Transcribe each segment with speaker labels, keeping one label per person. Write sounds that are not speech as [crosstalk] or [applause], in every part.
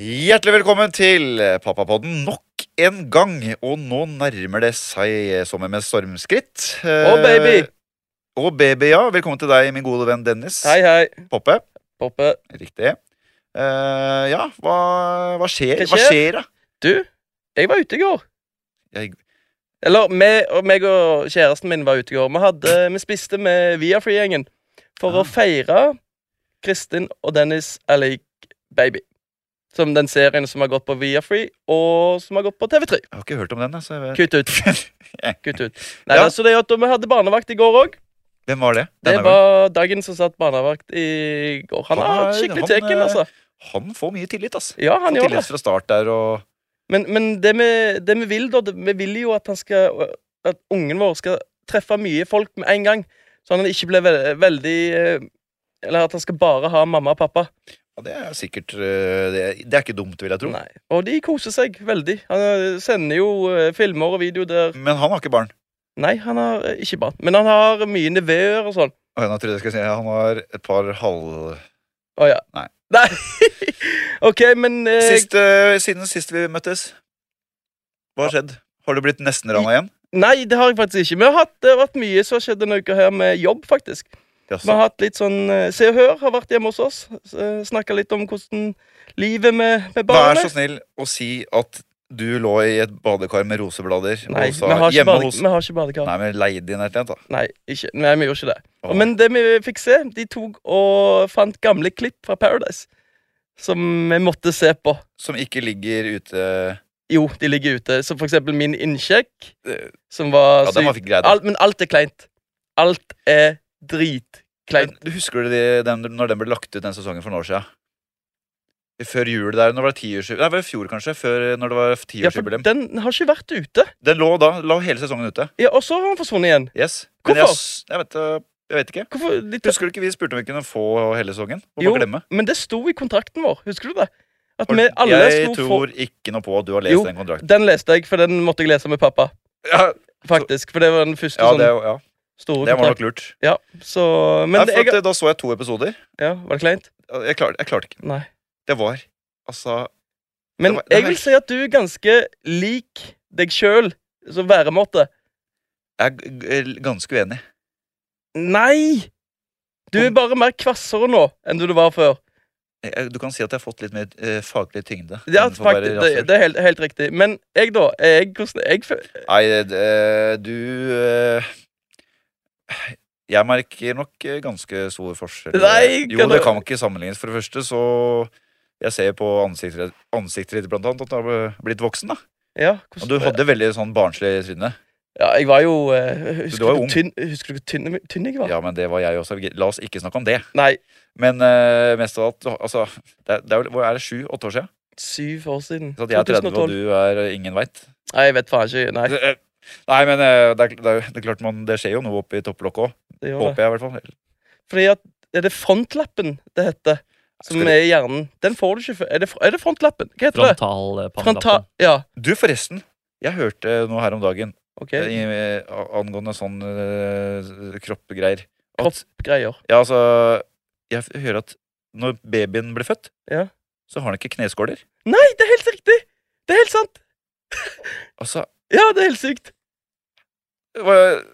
Speaker 1: Hjertelig velkommen til Pappapodden nok en gang. Og nå nærmer det seg som med stormskritt. Eh,
Speaker 2: Å, baby!
Speaker 1: Og baby, ja. Velkommen til deg, min gode venn Dennis.
Speaker 2: Hei, hei.
Speaker 1: Poppe.
Speaker 2: Poppe.
Speaker 1: Riktig. Eh, ja, hva, hva skjer?
Speaker 2: Hva
Speaker 1: Hva skjer, da?
Speaker 2: Du, jeg var ute i går.
Speaker 1: Jeg,
Speaker 2: Eller meg og, meg og kjæresten min var ute i går. Vi, hadde, vi spiste med Viafree-gjengen for
Speaker 1: Ah.
Speaker 2: å feire Kristin og Dennis er lik baby. Som den serien som har gått på Viafree, og som har gått på TV3.
Speaker 1: jeg har ikke hørt om den. Altså. Jeg vet- [laughs]
Speaker 2: Kutt ut. Kutt ut. Nei,
Speaker 1: Ja.
Speaker 2: altså det er at Vi hadde barnevakt i går òg.
Speaker 1: Hvem var det?
Speaker 2: Det
Speaker 1: Denne gangen?
Speaker 2: var dagen som satt barnevakt i går. Han
Speaker 1: Han
Speaker 2: er
Speaker 1: er-
Speaker 2: skikkelig
Speaker 1: han,
Speaker 2: teken,
Speaker 1: eh,
Speaker 2: altså.
Speaker 1: Han får mye tillit, ass.
Speaker 2: Ja, han
Speaker 1: Får
Speaker 2: gjør det.
Speaker 1: tillit fra start der og
Speaker 2: Men, men det, vi, det vi vil, da det, Vi vil jo at han skal At ungen vår skal treffe mye folk med en gang. Så han ikke blir ve veldig eh, Eller at han skal bare ha mamma og pappa.
Speaker 1: ja, Det er sikkert eh, det er, det er ikke dumt, vil jeg tro.
Speaker 2: Nei. Og de koser seg veldig. Han eh, sender jo eh, filmer og videoer der
Speaker 1: Men han har ikke barn.
Speaker 2: Nei, han har eh, ikke barn. Men han har mye nevøer og sånn.
Speaker 1: Å, nå trodde jeg skulle si Han har et par halv...
Speaker 2: Å ja.
Speaker 1: Nei.
Speaker 2: Nei. [laughs] OK, men eh,
Speaker 1: Sist, eh, siden sist vi møttes, hva har skjedd? Har du blitt nestenrana igjen?
Speaker 2: Nei, det har jeg faktisk ikke. Vi har hatt, det har vært mye som har skjedd denne uka her med jobb, faktisk. Vi
Speaker 1: Jaså.
Speaker 2: har hatt litt sånn eh, Se og Hør har vært hjemme hos oss. Snakka litt om hvordan livet med, med
Speaker 1: Vær
Speaker 2: barna
Speaker 1: så snill å si at du lå i et badekar med roseblader
Speaker 2: Nei,
Speaker 1: og
Speaker 2: vi
Speaker 1: sa
Speaker 2: har ikke,
Speaker 1: hjemme
Speaker 2: bade,
Speaker 1: hos
Speaker 2: vi har ikke badekar. Nei,
Speaker 1: Nei, men leide inn et eller annet, da.
Speaker 2: ikke, nei, vi gjorde ikke det.
Speaker 1: Å,
Speaker 2: Men det vi fikk se, de tok og fant gamle klipp fra Paradise som vi måtte se på.
Speaker 1: Som ikke ligger ute
Speaker 2: Jo, de ligger ute. Som for eksempel min innsjekk,
Speaker 1: Eh,
Speaker 2: som var
Speaker 1: Ja, den var
Speaker 2: sykt-
Speaker 1: ikke grei. da.
Speaker 2: alt, Men alt er kleint. Alt er dritkleint.
Speaker 1: Men du Husker du de, den, når den ble lagt ut den sesongen for noen år siden? Før jul der, når det var tiårsjubileum Nei, det var i fjor, kanskje. Før, når det var
Speaker 2: Ja, for
Speaker 1: tiårsjubileum.
Speaker 2: den har ikke vært ute.
Speaker 1: Den lå da, la hele sesongen ute.
Speaker 2: Ja, og så har han forsvunnet igjen.
Speaker 1: Yes. Men jeg,
Speaker 2: Hvorfor?
Speaker 1: s- jeg, vet, øh, jeg vet ikke.
Speaker 2: Hvorfor? De
Speaker 1: Husker du ikke vi spurte om vi kunne få hele sesongen? Og
Speaker 2: Jo,
Speaker 1: bare glemme?
Speaker 2: Men det sto i kontrakten vår, husker du det? At
Speaker 1: Har-
Speaker 2: vi alle
Speaker 1: jeg
Speaker 2: skulle
Speaker 1: tror ikke noe på at du har lest
Speaker 2: Jo.
Speaker 1: den kontrakten.
Speaker 2: få Den leste jeg, for den måtte jeg lese med pappa.
Speaker 1: Ja,
Speaker 2: Faktisk, For det var den første
Speaker 1: ja, det,
Speaker 2: sånn
Speaker 1: ja,
Speaker 2: store
Speaker 1: det var nok
Speaker 2: kontrakten.
Speaker 1: lurt.
Speaker 2: Ja, så Men
Speaker 1: Nei, for
Speaker 2: jeg,
Speaker 1: at, eh, da så jeg to episoder.
Speaker 2: ja, Var det kleint?
Speaker 1: Jeg klarte, jeg klarte ikke.
Speaker 2: Nei.
Speaker 1: Det var altså
Speaker 2: Men
Speaker 1: Det var- det
Speaker 2: jeg
Speaker 1: var
Speaker 2: vil
Speaker 1: helt-
Speaker 2: si at du er ganske lik deg sjøl som væremåte.
Speaker 1: Jeg er g- g- ganske uenig.
Speaker 2: Nei! Du er
Speaker 1: Om-
Speaker 2: bare mer kvassere nå enn du var før.
Speaker 1: Jeg- jeg- Du kan si at jeg har fått litt mer eh, faglig tyngde.
Speaker 2: Ja,
Speaker 1: enn for å være
Speaker 2: faktisk, det,
Speaker 1: rasshøl.
Speaker 2: det er helt, helt riktig. Men jeg, da? er Jeg, hvordan, jeg, føl-
Speaker 1: Nei, det- eh, du eh, Jeg merker nok eh, ganske stor forskjell.
Speaker 2: Nei,
Speaker 1: jo,
Speaker 2: kan
Speaker 1: det
Speaker 2: du-
Speaker 1: kan ikke sammenlignes. For det første så Jeg ser på ansiktet, ansiktet ditt blant annet at du har blitt voksen. da
Speaker 2: ja, hvordan,
Speaker 1: Og Du hadde veldig sånn barnslig tryne.
Speaker 2: Ja, jeg var jo eh, Husker
Speaker 1: var
Speaker 2: du
Speaker 1: ung.
Speaker 2: hvor tynn, husker du hvor tynn, tynn jeg var?
Speaker 1: Ja, men det var jeg også. La oss ikke snakke om det.
Speaker 2: Nei,
Speaker 1: Men eh, mest av alt altså, det, er- det er, vel- Hvor er det? Sju-åtte år siden?
Speaker 2: syv år siden.
Speaker 1: Så at jeg er 30, og du er eh, Ingen veit.
Speaker 2: Nei, jeg vet faen ikke. Nei,
Speaker 1: Det- eh, Nei, men eh, det er, det er, det er klart man, det skjer jo noe oppi topplokket òg.
Speaker 2: det gjør det.
Speaker 1: Håper jeg, i hvert fall.
Speaker 2: Fordi at Er det frontlappen det heter? Som
Speaker 1: Skal-
Speaker 2: er i hjernen. Den får du ikke før. Er det, fr- er det frontlappen? Hva heter det? Frontal...
Speaker 3: Frontalpannelappen.
Speaker 2: Ja,
Speaker 1: Du, forresten. Jeg hørte noe her om dagen
Speaker 2: OK.
Speaker 1: eh, i, eh, angående sånn eh, kroppgreier. At,
Speaker 2: Kroppgreier.
Speaker 1: ja, altså Jeg f- hører at når babyen blir født,
Speaker 2: Ja.
Speaker 1: så har han ikke kneskåler.
Speaker 2: Nei, det er helt riktig! Det er helt sant!
Speaker 1: Altså,
Speaker 2: Ja, det er helt sykt.
Speaker 1: hva-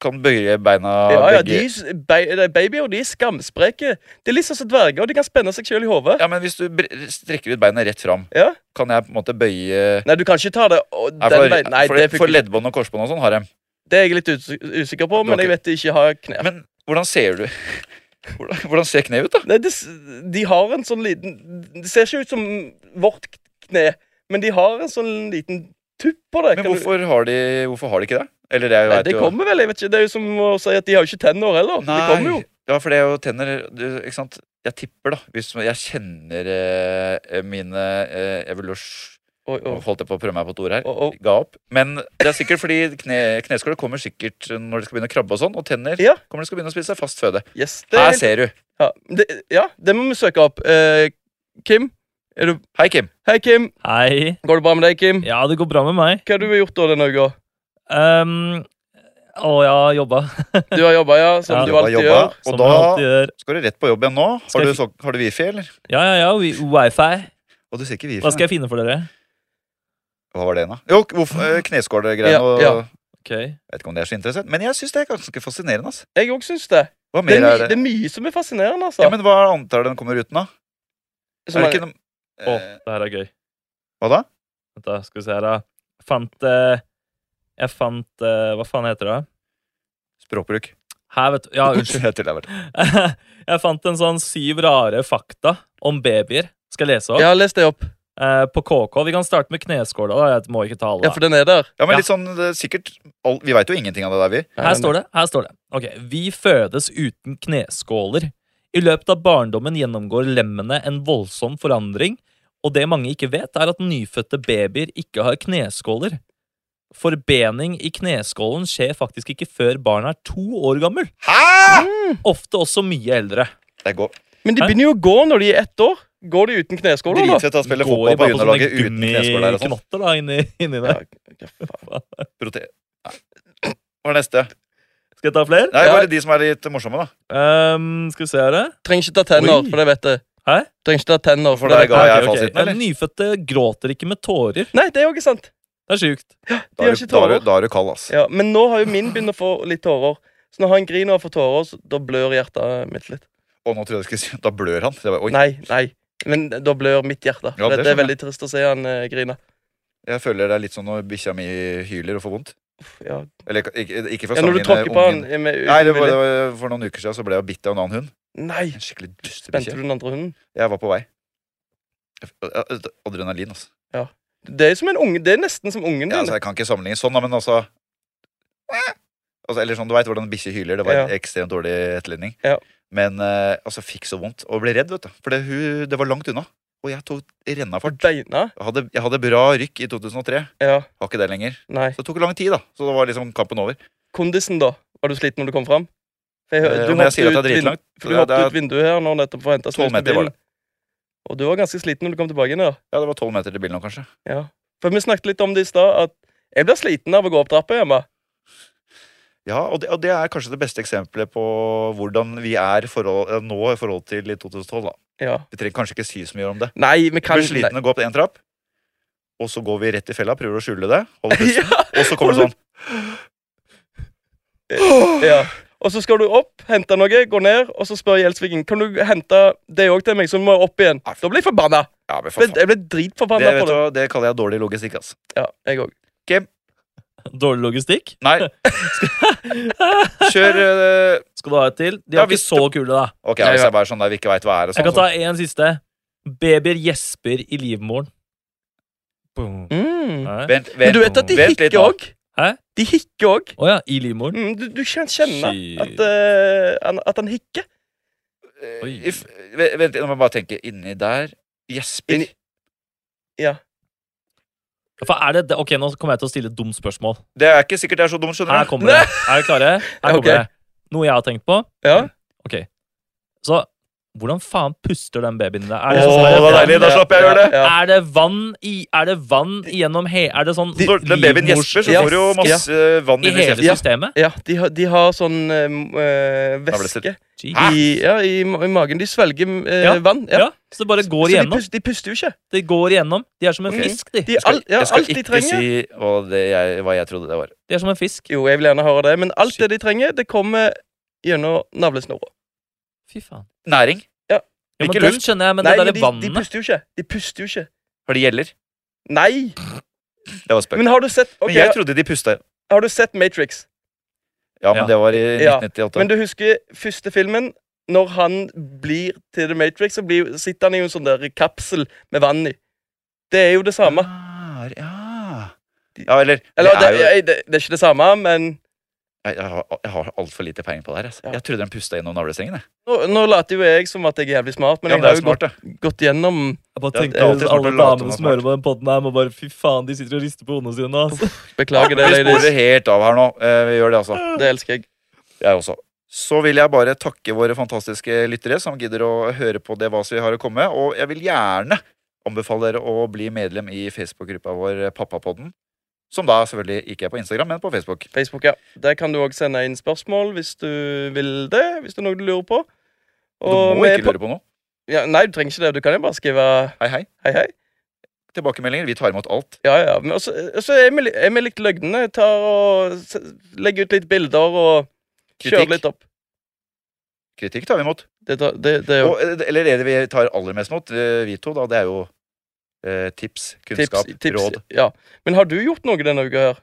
Speaker 1: kan bøye beina
Speaker 2: Ja, ja,
Speaker 1: begge
Speaker 2: de, s- ba- de babyer de er skamspreke. De er litt sånn som dverger, og de kan spenne seg sjøl i hodet.
Speaker 1: Ja, men hvis du bre- strekker ut beina rett fram,
Speaker 2: Ja.
Speaker 1: kan jeg på en måte bøye
Speaker 2: Nei, du kan ikke ta det og,
Speaker 1: Nei,
Speaker 2: den
Speaker 1: for,
Speaker 2: veien. Nei,
Speaker 1: for,
Speaker 2: det, fikk
Speaker 1: for
Speaker 2: vi-
Speaker 1: leddbånd og korsbånd og sånn har jeg.
Speaker 2: det er jeg litt us usikker på,
Speaker 1: Du har
Speaker 2: men jeg vet de ikke har knær.
Speaker 1: Men hvordan ser du [laughs] Hvordan, hvordan ser kneet ut, da?
Speaker 2: Nei, det, s- de har en sånn liten Det ser ikke ut som vårt kne, men de har en sånn liten tupp på det.
Speaker 1: Men
Speaker 2: Kan du-
Speaker 1: hvorfor har de, hvorfor har de ikke det? Eller det, jeg
Speaker 2: Nei,
Speaker 1: vet
Speaker 2: det
Speaker 1: jo
Speaker 2: kommer vel, jeg vet ikke. Det er jo som å si at de har jo ikke tenner heller.
Speaker 1: Nei.
Speaker 2: Det kommer jo.
Speaker 1: Ja, for det er jo tenner du, Ikke sant? Jeg tipper, da. Hvis jeg kjenner eh, mine eh, evolus...
Speaker 2: Oi,
Speaker 1: Nå
Speaker 2: oi,
Speaker 1: holdt jeg på å prøve meg på et ord her.
Speaker 2: oi, oi.
Speaker 1: Ga opp. Men det er sikkert fordi kne, kneskåler kommer sikkert når de skal begynne å krabbe og sånn. Og tenner
Speaker 2: Ja.
Speaker 1: kommer de skal begynne å spise seg fast føde.
Speaker 2: Yes, det, er
Speaker 1: Her
Speaker 2: helt-
Speaker 1: ser du.
Speaker 2: ja, det, ja, det må vi søke opp. Eh, Kim? Er du
Speaker 1: Hei, Kim.
Speaker 2: Hei, Kim.
Speaker 3: Hei.
Speaker 2: Går det bra med deg, Kim?
Speaker 3: Ja, det går bra med meg.
Speaker 2: Hva har du gjort da denne uka?
Speaker 3: Um, å, jeg har jobba, [laughs]
Speaker 2: Du har jobba, ja, som
Speaker 3: Ja.
Speaker 2: du
Speaker 1: Jobba,
Speaker 2: alltid
Speaker 1: jobba.
Speaker 2: gjør.
Speaker 3: som
Speaker 1: Og
Speaker 3: jeg alltid
Speaker 1: da
Speaker 3: gjør.
Speaker 1: skal du rett på jobb igjen nå.
Speaker 3: Skal
Speaker 1: Har du,
Speaker 3: jeg
Speaker 1: så, har du wifi, eller?
Speaker 3: Ja, ja, ja. wi- Wifi.
Speaker 1: Og du ser ikke vi
Speaker 3: Hva skal jeg finne for dere?
Speaker 1: Hva var det igjen, da? Jo, hvorfor- eh, kneskålergreiene
Speaker 2: Ja,
Speaker 1: og
Speaker 2: ja.
Speaker 3: Ok.
Speaker 1: Jeg vet ikke om det er så interessant, men jeg syns det er ganske fascinerende. ass.
Speaker 2: Jeg òg syns det.
Speaker 1: Hva
Speaker 2: Det
Speaker 1: mer
Speaker 2: er,
Speaker 1: er
Speaker 2: my, det
Speaker 1: det?
Speaker 2: er mye som er fascinerende, altså.
Speaker 1: Ja, men Hva er antallet den kommer uten, da?
Speaker 2: Som
Speaker 1: er
Speaker 2: er-
Speaker 1: det ikke noe...
Speaker 3: Å,
Speaker 1: Eh,
Speaker 3: det her er gøy.
Speaker 1: hva da?
Speaker 3: Vent da, skal vi se her, da. Jeg Fant eh, Jeg fant eh, Hva faen heter det?
Speaker 1: Språkbruk.
Speaker 3: Her, vet du
Speaker 1: [laughs]
Speaker 3: Ja, unnskyld. [laughs]
Speaker 1: Jeg tuller bare.
Speaker 3: jeg fant en sånn syv rare fakta om babyer. Skal jeg lese opp?
Speaker 2: ja, les det opp.
Speaker 3: Eh, på KK. Vi kan starte med kneskåla. da. Jeg må ikke ta alle.
Speaker 2: Ja, for den er der.
Speaker 1: Ja, men
Speaker 3: Ja.
Speaker 1: litt sånn eh, sikkert all... Vi veit jo ingenting av det der, vi.
Speaker 3: Her står det. her står det. Ok, Vi fødes uten kneskåler. I løpet av barndommen gjennomgår lemmene en voldsom forandring, og det mange ikke vet, er at nyfødte babyer ikke har kneskåler. Forbening i kneskålen skjer faktisk ikke før barnet er to år gammel.
Speaker 1: Hæ?!
Speaker 3: Ofte også mye eldre.
Speaker 1: Det går
Speaker 2: Men de
Speaker 3: Hæ?
Speaker 2: begynner jo å gå når de er ett år. Går de uten kneskåler, da?
Speaker 1: dritfett å spille
Speaker 3: Går
Speaker 1: fotball
Speaker 3: de
Speaker 1: på
Speaker 3: bare sånne
Speaker 1: juniorlaget uten kneskåler. og sånn.
Speaker 3: gummiknotter da, inni, inni der.
Speaker 2: Ja, hva faen.
Speaker 1: Prote... Nei. Hva er neste?
Speaker 3: Skal jeg ta flere?
Speaker 1: Nei,
Speaker 2: Ja.
Speaker 1: bare de som er litt morsomme, da.
Speaker 3: Ehm, skal vi se her, da.
Speaker 2: Trenger ikke ta tenner,
Speaker 3: Oi.
Speaker 2: for det vet jeg.
Speaker 3: Hæ?
Speaker 2: Trenger ikke ta tenner,
Speaker 1: For
Speaker 2: for det
Speaker 1: deg
Speaker 2: vet
Speaker 1: ga
Speaker 2: jeg.
Speaker 1: jeg
Speaker 3: Ok, ok.
Speaker 1: fasiten,
Speaker 3: Men
Speaker 1: eller?
Speaker 3: Nyfødte gråter ikke med tårer.
Speaker 2: Nei, det er jo ikke sant.
Speaker 3: Det er sjukt.
Speaker 1: Da er du,
Speaker 2: gjør ikke
Speaker 1: da er
Speaker 2: tårer.
Speaker 1: du, da er du kald, ass.
Speaker 2: Ja, men nå har jo min begynt å få litt tårer. Så når han griner og får tårer, så da blør hjertet mitt litt.
Speaker 1: Og nå trodde jeg skulle si Da blør han. Så Jeg, bare, oi,
Speaker 2: Nei, nei. Men da blør mitt hjerte.
Speaker 1: Ja,
Speaker 2: for
Speaker 1: det
Speaker 2: det, det er
Speaker 1: skjønner
Speaker 2: veldig trist å se han eh, grine.
Speaker 1: jeg føler det er litt sånn når bikkja mi hyler og får vondt.
Speaker 2: Uff, Ja.
Speaker 1: Eller ikke, ikke for å
Speaker 2: ja, når du tråkker på han
Speaker 1: ungen.
Speaker 2: eh, med
Speaker 1: Nei, det var, det
Speaker 2: uvilje.
Speaker 1: var For noen uker siden så ble jeg bitt av en annen hund.
Speaker 2: Nei!
Speaker 1: En skikkelig dyster
Speaker 2: Spente
Speaker 1: bikkje.
Speaker 2: du den andre hunden?
Speaker 1: Jeg var på vei. Adrenalin, altså.
Speaker 2: Det er, som en unge, det er nesten som ungen din.
Speaker 1: Ja, altså. Jeg kan ikke sammenligne sånn, da, men altså Altså, eller sånn, Du veit hvordan bikkjer hyler. Det var en
Speaker 2: Ja.
Speaker 1: ekstremt dårlig etterligning.
Speaker 2: Ja.
Speaker 1: Men eh, altså, fikk så vondt og ble redd, vet du. For det, hun, det var langt unna. Og jeg tok renna fart.
Speaker 2: Beina?
Speaker 1: Jeg hadde, jeg hadde bra rykk i 2003.
Speaker 2: Ja.
Speaker 1: Har ikke det lenger.
Speaker 2: Nei.
Speaker 1: Så det tok lang tid, da. Så da var liksom kampen over.
Speaker 2: Kondisen, da? Var du sliten når du kom fram? For jeg hø-
Speaker 1: Eh,
Speaker 2: du
Speaker 1: når jeg
Speaker 2: hoppet
Speaker 1: sier at det
Speaker 2: ut
Speaker 1: er
Speaker 2: vin-
Speaker 1: dritlangt,
Speaker 2: For du
Speaker 1: det er- det
Speaker 2: hoppet
Speaker 1: er-
Speaker 2: ut vinduet her nå nettopp for å hente
Speaker 1: 12
Speaker 2: snus til
Speaker 1: meter var
Speaker 2: bilen. Og du var ganske sliten når du kom til Bagen, ja.
Speaker 1: Ja, det var tolv meter til bilen nå, kanskje.
Speaker 2: ja. For vi snakket litt om det i stad, at jeg blir sliten av å gå opp trappa hjemme.
Speaker 1: Ja, og det, og det er kanskje det beste eksempelet på hvordan vi er i forhold, eh, nå i forhold til i 2012. da.
Speaker 2: Ja.
Speaker 1: Vi trenger kanskje ikke si så mye om det.
Speaker 2: Nei, vi
Speaker 1: Vi
Speaker 2: kan
Speaker 1: blir sliten og går opp én trapp, og så går vi rett i fella, prøver å skjule det,
Speaker 2: [laughs]
Speaker 1: holder pusten,
Speaker 2: ja,
Speaker 1: og så kommer det sånn
Speaker 2: ja. Og så skal du opp, hente noe, gå ned, og så spør Gjelsviken Kan du hente det òg til meg, så vi må opp igjen. Da blir jeg forbanna.
Speaker 1: Ja, men for faen.
Speaker 2: Jeg ble
Speaker 1: Det,
Speaker 2: dritforbanna
Speaker 1: vet
Speaker 2: på
Speaker 1: du,
Speaker 2: det.
Speaker 1: hva, det kaller jeg dårlig logistikk, altså.
Speaker 2: Ja, jeg òg.
Speaker 3: Dårlig logistikk.
Speaker 1: Nei, kjør eh,
Speaker 3: Skal du ha et til? De
Speaker 1: Ja,
Speaker 3: er
Speaker 1: hvis
Speaker 3: ikke så kule, da.
Speaker 1: Ok,
Speaker 2: Nei,
Speaker 1: hvis
Speaker 2: ja.
Speaker 1: jeg bare er sånn der vi ikke veit hva er og
Speaker 3: Jeg
Speaker 1: sånn.
Speaker 3: kan
Speaker 1: Så.
Speaker 3: ta en siste. Babyer gjesper i livmoren. Boom.
Speaker 2: Mm.
Speaker 3: Hæ?
Speaker 1: sånn. Vent,
Speaker 2: Men
Speaker 1: vent.
Speaker 2: du vet at de
Speaker 1: vent litt
Speaker 2: hikker
Speaker 1: nå.
Speaker 2: òg?
Speaker 3: Hæ?
Speaker 2: De hikker òg.
Speaker 3: Å ja, i livmoren.
Speaker 2: Mm, du, du kan kjenne
Speaker 3: Shit.
Speaker 2: at, eh, han- at han hikker.
Speaker 1: Eh,
Speaker 3: Oi.
Speaker 1: if, vent, vent, nå må jeg bare tenke. Inni der gjesper.
Speaker 2: Inni- Ja.
Speaker 3: For er det, det- ok, Nå kommer jeg til å stille et dumt spørsmål.
Speaker 1: Det er ikke sikkert det er så dumt,
Speaker 3: Her
Speaker 1: skjønner du.
Speaker 3: kommer det. Er dere klare? Her kommer
Speaker 2: Ok.
Speaker 3: det. Noe jeg har tenkt på.
Speaker 2: Ja.
Speaker 3: Så hvordan faen puster den babyen der? Er
Speaker 1: Åh,
Speaker 3: det, sånn,
Speaker 1: det var
Speaker 3: er det,
Speaker 1: deilig. Da slapp jeg å gjøre det.
Speaker 2: Ja.
Speaker 3: er det vann i Er det vann gjennom he... Er det sånn
Speaker 1: Når den babyen gjesper, så
Speaker 2: Ja.
Speaker 1: får du jo masse vann
Speaker 3: i
Speaker 1: inni
Speaker 3: hele
Speaker 1: kjeften.
Speaker 2: Ja.
Speaker 3: systemet?
Speaker 2: Ja, de, har- de har sånn eh, m- eh,
Speaker 1: Da ble det
Speaker 2: væske
Speaker 3: Gee.
Speaker 2: i, ja, i, ma- i magen. De svelger eh,
Speaker 3: Ja,
Speaker 2: vann. Ja.
Speaker 3: Ja, så det bare
Speaker 2: Så
Speaker 3: går
Speaker 2: de,
Speaker 3: igjennom.
Speaker 2: puster, de puster jo ikke.
Speaker 3: Det går igjennom. De er som en
Speaker 2: Ok.
Speaker 3: fisk, de.
Speaker 2: De, all, ja,
Speaker 1: jeg skal
Speaker 2: alt de
Speaker 1: ikke
Speaker 2: trenger
Speaker 1: si hva, det jeg, hva jeg trodde det var.
Speaker 3: De er som en fisk.
Speaker 2: Jo, jeg vil gjerne høre det, men alt det de trenger, det kommer gjennom navlesnora.
Speaker 3: Fy faen.
Speaker 1: Næring.
Speaker 3: Ja, men
Speaker 1: Ikke
Speaker 3: den
Speaker 1: luft.
Speaker 3: skjønner jeg, men
Speaker 2: Nei,
Speaker 3: det
Speaker 2: men
Speaker 3: derre
Speaker 2: de, de
Speaker 3: vannet
Speaker 2: puster jo ikke. De puster jo ikke.
Speaker 1: Har de gjeller?
Speaker 2: Nei!
Speaker 1: Det var spøk.
Speaker 2: Men har du sett ok,
Speaker 1: Men jeg trodde de pusta.
Speaker 2: Har du sett Matrix?
Speaker 1: Ja, men
Speaker 3: Ja.
Speaker 1: det var i
Speaker 2: Ja,
Speaker 1: 1998.
Speaker 2: Men du husker første filmen? Når han blir til The Matrix, så blir, sitter han i en sånn der kapsel med vann i. Det er jo det samme.
Speaker 1: Ah, ja. ja, eller,
Speaker 2: Eller,
Speaker 1: det er jo, jeg,
Speaker 2: det, det, det er ikke det samme, men
Speaker 1: jeg har, jeg har altfor lite peiling på det her. Altså.
Speaker 2: Ja.
Speaker 1: Jeg trodde den pusta gjennom navlestrengen. jeg.
Speaker 2: nå, nå later jo jeg som at jeg er jævlig smart, men
Speaker 1: Ja,
Speaker 2: jeg
Speaker 1: men det er
Speaker 2: har jo
Speaker 1: smart, det.
Speaker 2: gått, gått gjennom
Speaker 3: Jeg bare
Speaker 1: Ja, det
Speaker 3: tenkte
Speaker 1: er alltid smart
Speaker 3: alle
Speaker 1: å late
Speaker 3: damene
Speaker 1: som
Speaker 3: som
Speaker 1: smart.
Speaker 3: hører på den podden her, må bare fy faen, de sitter og rister på hodene sine nå. Altså.
Speaker 2: Beklager det,
Speaker 1: Vi
Speaker 2: ladies.
Speaker 1: sporer helt av her nå. Eh, Vi gjør det, altså.
Speaker 2: Det elsker jeg.
Speaker 1: Jeg også. Så vil jeg bare takke våre fantastiske lyttere som gidder å høre på det hva vi har å komme. Og jeg vil gjerne anbefale dere å bli medlem i Facebook-gruppa vår eh, Pappapodden. Som da selvfølgelig ikke er på Instagram, men på Facebook.
Speaker 2: Facebook, ja. Der kan du òg sende inn spørsmål hvis du vil det. Hvis det er noe du lurer på.
Speaker 1: Og du må
Speaker 2: vi er
Speaker 1: ikke
Speaker 2: på-
Speaker 1: lure på noe.
Speaker 2: Ja, nei, du trenger ikke det. Du kan jo bare skrive
Speaker 1: Hei, hei.
Speaker 2: hei, hei.
Speaker 1: tilbakemeldinger. Vi tar imot alt.
Speaker 2: Ja, ja. Men også, så er vi, li- er vi litt løgne. Jeg Tar og s- legger ut litt bilder og
Speaker 1: Kritikk.
Speaker 2: kjører litt opp.
Speaker 1: Kritikk tar vi imot.
Speaker 2: Det, tar- det, det er jo
Speaker 1: Og, eh, eller det vi tar aller mest imot, eh, vi to, da, det er jo eh, tips, kunnskap,
Speaker 2: tips, tips.
Speaker 1: råd.
Speaker 2: Ja. Men har du gjort noe denne uka her?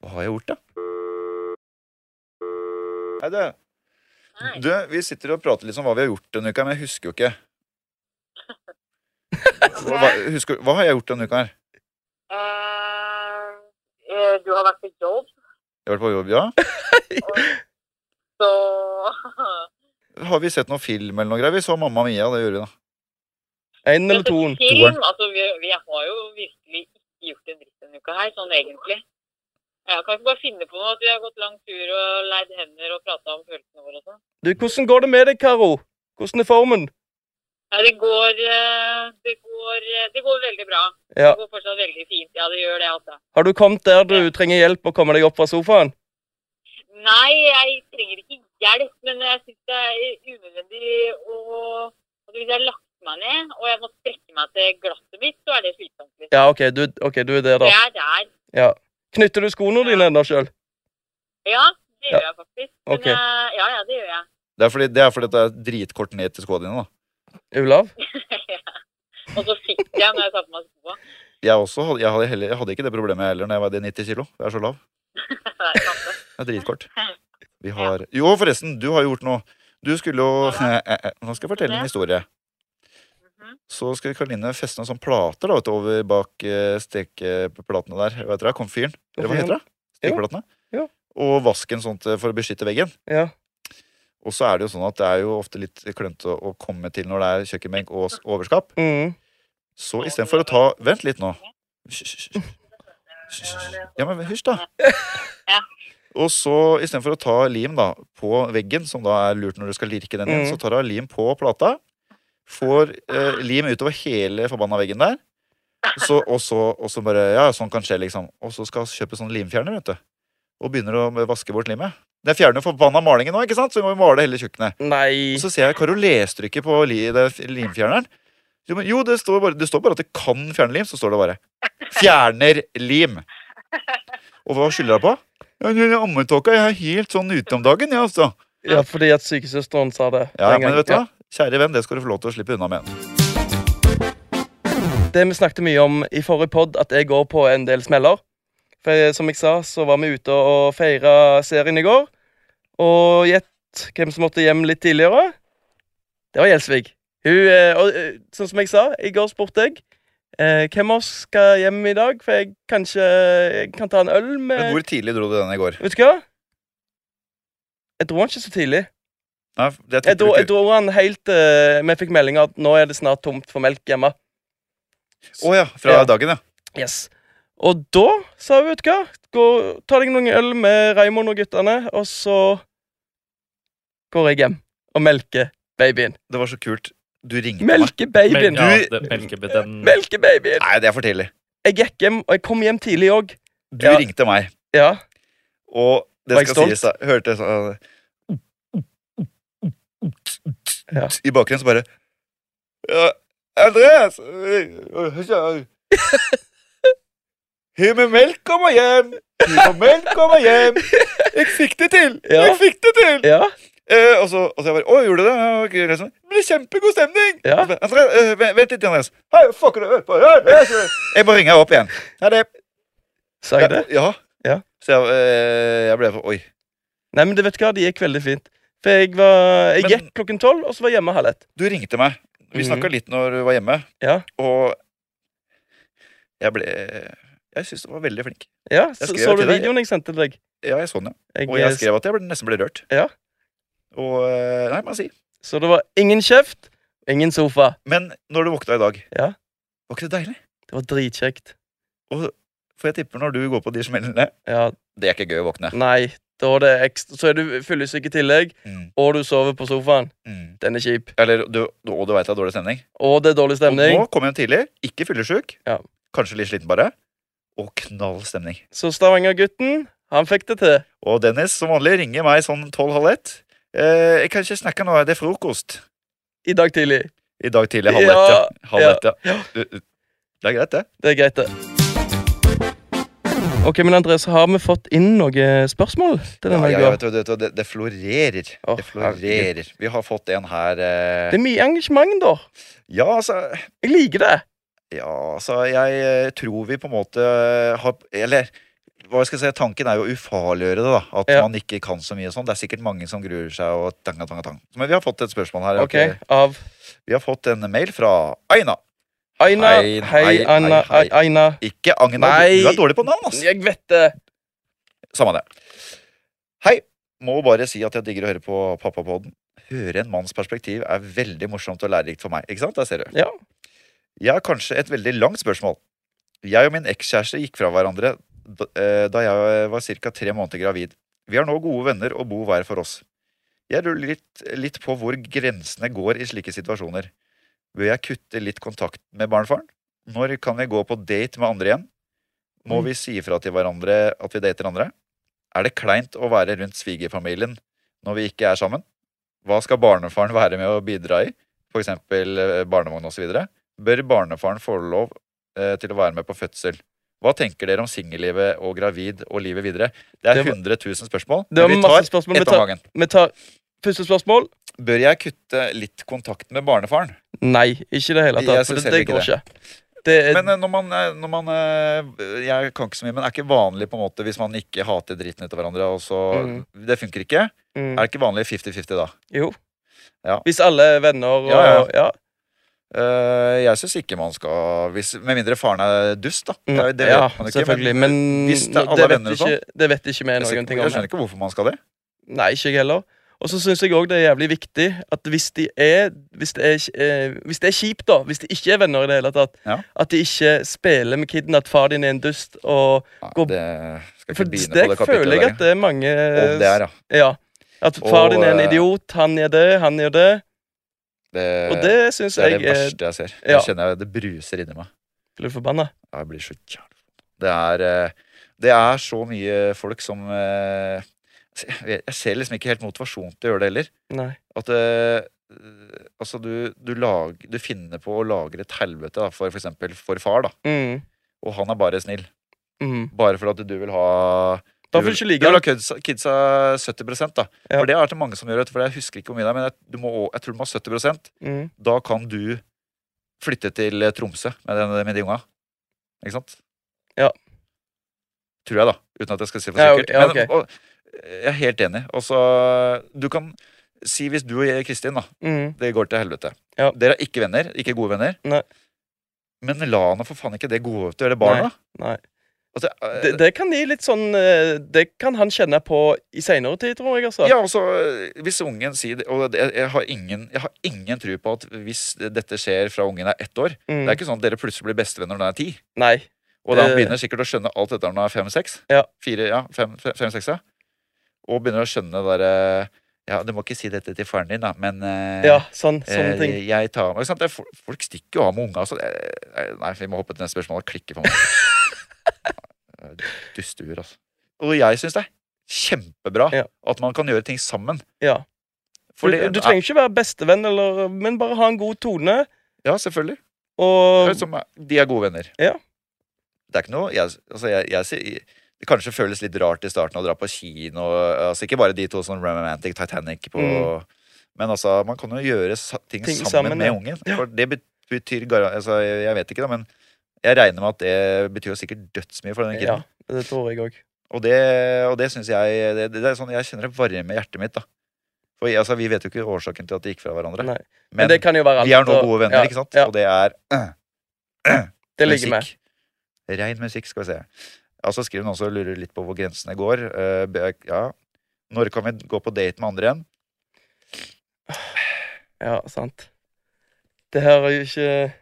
Speaker 1: Hva har jeg gjort, da? Hei, du. Du, vi sitter og prater litt om hva vi har gjort denne uka, men jeg husker jo ikke. Hva, husker, hva har jeg gjort denne uka her?
Speaker 4: Eh, eh, du har vært på jobb,
Speaker 1: Jeg har vært på jobb, ja.
Speaker 4: så
Speaker 1: Har vi sett noen film eller noe greier? Vi så Mamma Mia, det gjorde vi da.
Speaker 2: Én eller to?
Speaker 4: Film, altså, vi, vi har jo virkelig ikke gjort en dritt denne uka her, sånn egentlig. Jeg kan ikke bare finne på noe at vi har gått lang tur og leid hender og prata om følelsene våre og sånn.
Speaker 2: Du, hvordan går det med deg, Karo? Hvordan er formen?
Speaker 4: Ja, det går, eh, det går eh, Det går veldig bra.
Speaker 2: Ja.
Speaker 4: Det går fortsatt veldig fint. Ja, det gjør det, altså.
Speaker 2: Har du kommet der du trenger hjelp å komme deg opp fra sofaen?
Speaker 4: Nei, jeg trenger ikke hjelp, men jeg syns det er unødvendig å altså, Hvis jeg har lagt meg ned og jeg må strekke meg til glasset mitt, så er det slitsomt. Liksom.
Speaker 2: Ja, OK, du, ok, du er der,
Speaker 4: Det
Speaker 2: da.
Speaker 4: er der.
Speaker 2: Knytter du skoene dine ennå sjøl?
Speaker 4: Ja, det gjør jeg faktisk. Men,
Speaker 2: Ok.
Speaker 4: eh, ja, ja, det gjør jeg. [laughs]
Speaker 1: Det er fordi det er, fordi det er dritkort ned til skoene dine, da.
Speaker 2: Olav?
Speaker 4: Og så fikk jeg når jeg tar på meg skoa. [laughs]
Speaker 1: Jeg, også, hadde- jeg, hadde heller, jeg hadde ikke det problemet heller når jeg veide 90 kilo. Jeg er så lav.
Speaker 4: Det er sant, det.
Speaker 1: Det er dritkort. Vi har Jo, forresten, du har gjort noe. Du skulle jo [laughs] Eh,
Speaker 4: Hva
Speaker 1: Nå skal jeg fortelle en historie.
Speaker 4: Mhm.
Speaker 1: Så skulle Karoline feste noen sånne plater da, vet du, over bak eh, stekeplatene der. Hva heter det? Komfyren? Eller hva heter det? Stekeplatene?
Speaker 2: Ja.
Speaker 1: Og vasken sånt eh, for å beskytte veggen.
Speaker 2: Ja.
Speaker 1: Og så er det jo sånn at det er jo ofte litt klønete å komme til når det er kjøkkenbenk og s- overskap.
Speaker 2: Mm.
Speaker 1: Så istedenfor å ta Vent litt nå. Hysj, hysj, hysj. Hysj, hysj. Ja, men hysj, da.
Speaker 4: Ja.
Speaker 1: Og så istedenfor å ta lim da, på veggen, som da er lurt når du skal lirke den inn,
Speaker 2: Mm.
Speaker 1: så tar hun lim på plata. Får eh, lim utover hele forbanna veggen der. Så, og, så, og så bare Ja, sånn kan skje, liksom. Og så skal hun kjøpe sånn limfjerner, vet du. Og begynner å vaske bort limet. Den fjerner jo forbanna malingen nå, ikke sant? så vi må jo male hele kjøkkenet.
Speaker 2: Nei
Speaker 1: Og så ser jeg Karo lestrykket på li, det, f- limfjerneren. Jo, men, jo det, står bare, det står bare at det kan fjerne lim, så står det bare. Fjerner lim. Og hva skylder jeg på? Ja, den Ammetåka jeg er helt sånn ute om dagen, jeg, altså.
Speaker 2: Ja, fordi at sykesøsteren sa det.
Speaker 1: Ja,
Speaker 2: den
Speaker 1: men
Speaker 2: gangen.
Speaker 1: vet du hva? Kjære venn, det skal du få lov til å slippe unna med.
Speaker 2: Det vi snakket mye om i forrige pod, at jeg går på en del smeller. For jeg, som jeg sa, så var vi ute og feira serien i går. Og gjett hvem som måtte hjem litt tidligere? Det var Gjelsvik. Hun, eh, og eh, sånn som jeg sa, i går spurte jeg eh, hvem av oss skal hjem i dag, for jeg kanskje eh, jeg kan ta en øl med
Speaker 1: Men hvor tidlig dro du den i går?
Speaker 2: Vet du hva? Jeg dro han ikke så tidlig.
Speaker 1: Nei, det
Speaker 2: Jeg dro,
Speaker 1: tipper du
Speaker 2: jeg
Speaker 1: ikke.
Speaker 2: dro han helt eh, Vi fikk melding at nå er det snart tomt for melk hjemme.
Speaker 1: Å ja, fra
Speaker 2: Ja.
Speaker 1: dagen, ja.
Speaker 2: Yes. Og da sa hun, vet du hva, gå, ta deg noen øl med Raymond og guttene, og så går jeg hjem og melker babyen.
Speaker 1: Det var så kult. Du ringte meg.
Speaker 2: Melker
Speaker 3: Mel-
Speaker 2: babyen!
Speaker 3: ja,
Speaker 1: Du-
Speaker 3: det, melkebed- den-
Speaker 2: Melker babyen!
Speaker 1: Nei, det er for tidlig.
Speaker 2: Jeg gikk hjem, og jeg kom hjem tidlig òg.
Speaker 1: Du
Speaker 2: Ja.
Speaker 1: ringte meg,
Speaker 2: Ja.
Speaker 1: og det
Speaker 2: Var jeg
Speaker 1: skal
Speaker 2: stolt?
Speaker 1: sies, da. Hørte jeg sånn
Speaker 2: Ja.
Speaker 1: eh, I bakgrunnen så bare «Ja,
Speaker 2: [laughs]
Speaker 1: Andreas! øh, øh, øh, Hiv med melk kommer hjem! Hiv med melk kommer hjem! Jeg fikk det til!
Speaker 2: Ja.
Speaker 1: Jeg fikk det til!
Speaker 2: ja.
Speaker 1: Eh, og, så, og så jeg bare Å, gjorde du det? Ja, ok, liksom. Det ble kjempegod stemning!
Speaker 2: Ja.
Speaker 1: Og så bare, Andreas, øh, vent- vent litt, Andreas. Hei, fuck, det, øh, øh, øh, øh. Jeg bare ringer opp igjen. Ha det.
Speaker 2: Sa jeg det?
Speaker 1: Ja.
Speaker 2: Ja.
Speaker 1: Så jeg, øh, jeg ble for Oi.
Speaker 2: Nei, men det vet du hva, det gikk veldig fint. For jeg var Jeg
Speaker 1: Men-
Speaker 2: gikk klokken tolv, og så var jeg hjemme halv ett.
Speaker 1: Du ringte meg. Vi
Speaker 2: Mhm.
Speaker 1: snakka litt når du var hjemme.
Speaker 2: Ja.
Speaker 1: Og jeg ble Jeg syns du var veldig flink.
Speaker 2: Ja,
Speaker 1: Jeg
Speaker 2: så,
Speaker 1: skrev
Speaker 2: så du
Speaker 1: til deg.
Speaker 2: videoen jeg sendte til deg?
Speaker 1: Ja, jeg så den, ja.
Speaker 2: Jeg,
Speaker 1: Og jeg skrev at jeg ble, nesten ble rørt.
Speaker 2: Ja.
Speaker 1: Og eh, Nei, må jeg si.
Speaker 2: Så det var ingen kjeft, ingen sofa.
Speaker 1: Men når du våkna i dag,
Speaker 2: Ja.
Speaker 1: var ikke det deilig?
Speaker 2: Det var dritkjekt.
Speaker 1: For jeg tipper når du går på de smellene
Speaker 2: Ja,
Speaker 1: Det er ikke gøy å våkne.
Speaker 2: nei, da er det ekstra Så er du fyllesyk i tillegg,
Speaker 1: Mm.
Speaker 2: og du sover på sofaen.
Speaker 1: Mm.
Speaker 2: Den er kjip.
Speaker 1: Eller, du, du- og du veit det er dårlig stemning.
Speaker 2: Og det er dårlig
Speaker 1: Og
Speaker 2: stemning.
Speaker 1: nå kom jeg hjem tidlig, ikke fyllesyk,
Speaker 2: Ja.
Speaker 1: kanskje litt sliten bare, og knall stemning.
Speaker 2: Så Stavanger-gutten, han fikk det til.
Speaker 1: Og Dennis, som vanlig, ringer meg sånn tolv-halv ett. Eh, jeg kan ikke snakke nå, det er frokost.
Speaker 2: I dag tidlig.
Speaker 1: I dag tidlig, halv ett, ja. Halv
Speaker 2: ja.
Speaker 1: ett, ja. Du- Det er greit, det.
Speaker 2: Det er greit, det. Ok, men Andreas, har vi fått inn noen spørsmål? til
Speaker 1: Ja,
Speaker 2: denne
Speaker 1: ja,
Speaker 2: uka?
Speaker 1: ja, vet du, vet du, det, det florerer.
Speaker 2: Å,
Speaker 1: det florerer. Vi har fått en her eh,
Speaker 2: Det er mye engasjement, da.
Speaker 1: Ja, altså
Speaker 2: Jeg liker det.
Speaker 1: Ja, altså, jeg eh, tror vi på en måte eh, har Eller hva skal jeg si, tanken er jo å ufarliggjøre det, da. At
Speaker 2: Ja.
Speaker 1: man ikke kan så mye og sånn. Det er sikkert mange som gruer seg og tanga, tanga, tang. Men vi har fått et spørsmål her.
Speaker 2: Ok, Av
Speaker 1: Vi har fått en mail fra Aina.
Speaker 2: Aina.
Speaker 1: Hei,
Speaker 2: Hei,
Speaker 1: hei,
Speaker 2: Anna.
Speaker 1: hei,
Speaker 2: Hei, Aina.
Speaker 1: Ikke Agna.
Speaker 2: Nei.
Speaker 1: Du, du er dårlig på navn, ass.
Speaker 2: Jeg vet det.
Speaker 1: Samme det. Hei. Må bare si at jeg digger å høre på Pappapoden. Høre en manns perspektiv er veldig morsomt og lærerikt for meg. Ikke sant? Der ser du.
Speaker 2: Ja.
Speaker 1: Jeg har kanskje et veldig langt spørsmål. Jeg og min ekskjæreste gikk fra hverandre da eh, da jeg var ca. tre måneder gravid. Vi er nå gode venner og bor hver for oss. Jeg lurer litt, litt på hvor grensene går i slike situasjoner. Bør jeg kutte litt kontakt med barnefaren? Når kan vi gå på date med andre igjen?
Speaker 2: Mm.
Speaker 1: Må vi si ifra til hverandre at vi dater andre? Er det kleint å være rundt svigerfamilien når vi ikke er sammen? Hva skal barnefaren være med å bidra i, for eksempel eh, barnevogn osv.? Bør barnefaren få lov eh, til å være med på fødsel? Hva tenker dere om singellivet og gravid og livet videre? Det er
Speaker 2: Det var-
Speaker 1: 100 000 spørsmål.
Speaker 2: Det var
Speaker 1: men vi
Speaker 2: masse
Speaker 1: tar
Speaker 2: spørsmål. Vi
Speaker 1: ett om
Speaker 2: tar,
Speaker 1: gangen.
Speaker 2: vi tar første spørsmål.
Speaker 1: Bør jeg kutte litt kontakt med barnefaren?
Speaker 2: Nei, ikke i det hele tatt.
Speaker 1: Jeg
Speaker 2: For
Speaker 1: synes
Speaker 2: det,
Speaker 1: heller
Speaker 2: det
Speaker 1: ikke
Speaker 2: går
Speaker 1: det.
Speaker 2: ikke. Det er,
Speaker 1: Men eh, når man, eh, når man eh, Jeg kan ikke så mye, men er ikke vanlig på en måte hvis man ikke hater dritten ut av hverandre, og så
Speaker 2: Mhm.
Speaker 1: Det funker ikke?
Speaker 2: mm,
Speaker 1: Er det ikke vanlig 50-50 da?
Speaker 2: jo.
Speaker 1: Ja.
Speaker 2: Hvis alle er venner og
Speaker 1: Ja, ja.
Speaker 2: ja.
Speaker 1: Eh, jeg syns ikke man skal hvis, Med mindre faren er dust, da. Det, er- det vet
Speaker 2: Mm. ja,
Speaker 1: man ikke,
Speaker 2: selvfølgelig.
Speaker 1: men-
Speaker 2: Men
Speaker 1: hvis det er alle
Speaker 2: vet
Speaker 1: venner og sånn-
Speaker 2: ikke, det vet ikke vi
Speaker 1: jeg, ser
Speaker 2: noen
Speaker 1: ikke,
Speaker 2: ting
Speaker 1: jeg
Speaker 2: om.
Speaker 1: skjønner ikke hvorfor man skal det.
Speaker 2: Nei, ikke jeg heller. Og så syns jeg òg det er jævlig viktig at hvis de er Hvis det er, eh, hvis det er kjipt, da, hvis de ikke er venner i det hele tatt,
Speaker 1: Ja.
Speaker 2: at de ikke spiller med kiden, at far din er en dust og
Speaker 1: Nei,
Speaker 2: Gå-
Speaker 1: det skal
Speaker 2: For
Speaker 1: ikke begynne
Speaker 2: det,
Speaker 1: på det kapitlet
Speaker 2: føler jeg
Speaker 1: der.
Speaker 2: at det er mange
Speaker 1: Om det er, ja.
Speaker 2: Ja. At far
Speaker 1: Og,
Speaker 2: din er en
Speaker 1: eh,
Speaker 2: idiot, han er det, han gjør det.
Speaker 1: Det,
Speaker 2: Og det syns
Speaker 1: det Eh, er
Speaker 2: jeg
Speaker 1: det
Speaker 2: er
Speaker 1: verste jeg ser.
Speaker 2: ja.
Speaker 1: Jeg kjenner jeg, det bruser inni meg.
Speaker 2: Blir du forbanna?
Speaker 1: Ja, Jeg blir så jævlig Det er eh, Det er så mye folk som eh, Jeg jeg ser liksom ikke helt motivasjon til å gjøre det heller.
Speaker 2: Nei.
Speaker 1: At eh, Altså, du, du, lag, du finner på å lagre et helvete da, for, for eksempel for far, da.
Speaker 2: Mm.
Speaker 1: Og han er bare snill.
Speaker 2: Mm.
Speaker 1: Bare for at du vil ha du
Speaker 2: Da får du
Speaker 1: vil-
Speaker 2: ikke
Speaker 1: Du
Speaker 2: like
Speaker 1: vil ha
Speaker 2: han.
Speaker 1: kidsa, kidsa 70 da.
Speaker 2: Ja.
Speaker 1: For det er det mange som gjør, vet du, for jeg husker ikke hvor mye det er, men jeg, du må, å- jeg tror du må ha 70
Speaker 2: Mm.
Speaker 1: Da kan du flytte til eh, Tromsø med, den, med de unga. Ikke sant?
Speaker 2: Ja.
Speaker 1: Tror jeg, da. Uten at jeg skal si for
Speaker 2: Ja,
Speaker 1: sikkert.
Speaker 2: ja, ok.
Speaker 1: Men, og, jeg er helt enig. Og så Du kan si hvis du og jeg, Kristin, da
Speaker 2: Mm.
Speaker 1: det går til helvete.
Speaker 2: Ja.
Speaker 1: Dere er ikke venner, ikke gode venner.
Speaker 2: Nei.
Speaker 1: Men la nå for faen ikke det gå ut til det barna.
Speaker 2: Nei.
Speaker 1: Altså, eh,
Speaker 2: Det, det kan gi litt sånn eh, Det kan han kjenne på i seinere tid, tror jeg. altså
Speaker 1: ja, altså, eh, hvis ungen sier det, Og det, jeg, har ingen, jeg har ingen tro på at hvis dette skjer fra ungen er ett år
Speaker 2: Mm.
Speaker 1: Det er ikke sånn at dere plutselig blir bestevenner når han er ti.
Speaker 2: Nei.
Speaker 1: Og da
Speaker 2: Det-
Speaker 1: begynner sikkert å skjønne alt dette når han er fem-seks.
Speaker 2: Eh, Ja.
Speaker 1: Fire, ja, fem, fem, fem-seks, ja. Og begynner å skjønne det derre Ja, du må ikke si dette til faren din, da, men eh,
Speaker 2: Ja, sånn, sånne
Speaker 1: Eh,
Speaker 2: ting.
Speaker 1: Jeg tar meg, ikke sant? Det er fol- Folk stikker jo av med unga. Altså. Eh, eh, Nei, vi må hoppe til neste spørsmål og klikke på meg. [laughs] Dustuer, altså. Og jeg syns det er kjempebra
Speaker 2: Ja.
Speaker 1: at man kan gjøre ting sammen.
Speaker 2: Ja.
Speaker 1: For
Speaker 2: du,
Speaker 1: det-
Speaker 2: du trenger ikke være bestevenn, eller, men bare ha en god tone.
Speaker 1: Ja, selvfølgelig. Det
Speaker 2: Og
Speaker 1: er som, de er gode venner.
Speaker 2: Ja.
Speaker 1: Det er ikke noe jeg, altså jeg, jeg, sier- det kanskje føles litt rart i starten å dra på kino. Altså ikke bare de to sånn romantic Titanic på
Speaker 2: Mm.
Speaker 1: Men altså, man kan jo gjøre sa- ting,
Speaker 2: Ting
Speaker 1: sammen,
Speaker 2: sammen,
Speaker 1: med
Speaker 2: ja.
Speaker 1: ungen. For det bet- betyr gar- altså, jeg, jeg vet ikke, da, men jeg regner med at det betyr jo sikkert dødsmye for den
Speaker 2: Ja,
Speaker 1: kiden.
Speaker 2: det tror jeg òg.
Speaker 1: Og det, og det syns jeg det, det er sånn, Jeg kjenner det varme i hjertet mitt, da. For altså, vi vet jo ikke årsaken til at de gikk fra hverandre.
Speaker 2: Nei. Men,
Speaker 1: Men
Speaker 2: det kan jo være alt.
Speaker 1: vi er nå
Speaker 2: og-
Speaker 1: gode venner,
Speaker 2: ja,
Speaker 1: ikke sant?
Speaker 2: Ja,
Speaker 1: Og det er øh,
Speaker 2: det ligger med.
Speaker 1: Rein musikk, skal vi se. Ja, så skriver hun også og lurer litt på hvor grensene går. Eh, be- ja. Når kan vi gå på date med andre igjen?
Speaker 2: Mm. Ja, sant. Det her er jo ikke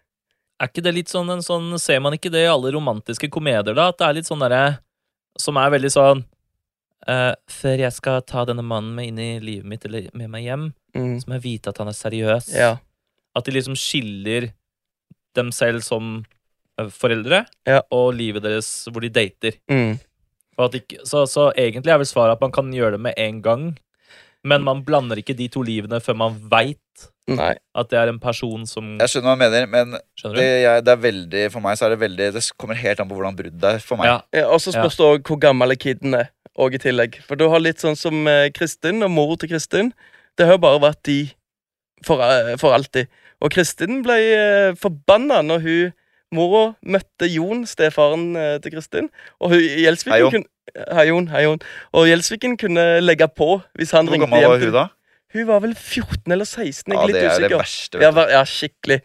Speaker 3: Er ikke det litt sånn en sånn Ser man ikke det i alle romantiske komedier, da? At det er litt sånn derre Som er veldig sånn eh, Før jeg skal ta denne mannen med inn i livet mitt eller med meg hjem,
Speaker 2: mm.
Speaker 3: så må jeg vite at han er seriøs.
Speaker 2: Ja.
Speaker 3: At de liksom skiller dem selv som eh, foreldre
Speaker 2: Ja.
Speaker 3: og livet deres hvor de dater.
Speaker 2: Mm.
Speaker 3: Og at ikke, så, så egentlig er vel svaret at man kan gjøre det med en gang. Men man blander ikke de to livene før man veit
Speaker 2: Nei.
Speaker 3: at det er en person som
Speaker 1: Jeg skjønner hva du mener, men
Speaker 3: Skjønner
Speaker 1: det,
Speaker 3: du?
Speaker 1: jeg, det er veldig, for meg så er det veldig Det kommer helt an på hvordan bruddet er for meg.
Speaker 3: Ja.
Speaker 2: Ja, og så spørs det òg hvor gammel er kiden er. Og i tillegg. For du har litt sånn som eh, Kristin og mor til Kristin. Det har jo bare vært de for, eh, for alltid. Og Kristin ble eh, forbanna når hun mora møtte Jon, stefaren eh, til Kristin. Og hun, Gjelsviken
Speaker 1: Hei, Jon.
Speaker 2: kunne Hei, Jon. Hei, Jon. Og Gjelsviken kunne legge på hvis han
Speaker 1: Hvor
Speaker 2: ringte
Speaker 1: gammel
Speaker 2: hjem.
Speaker 1: var
Speaker 2: til-
Speaker 1: hun da?
Speaker 2: Hun var vel 14 eller 16. Jeg
Speaker 1: Ja, det
Speaker 2: er litt
Speaker 1: er det
Speaker 2: usikker.
Speaker 1: verste.
Speaker 2: Ja,
Speaker 1: Vet du.
Speaker 2: var, ja, skikkelig.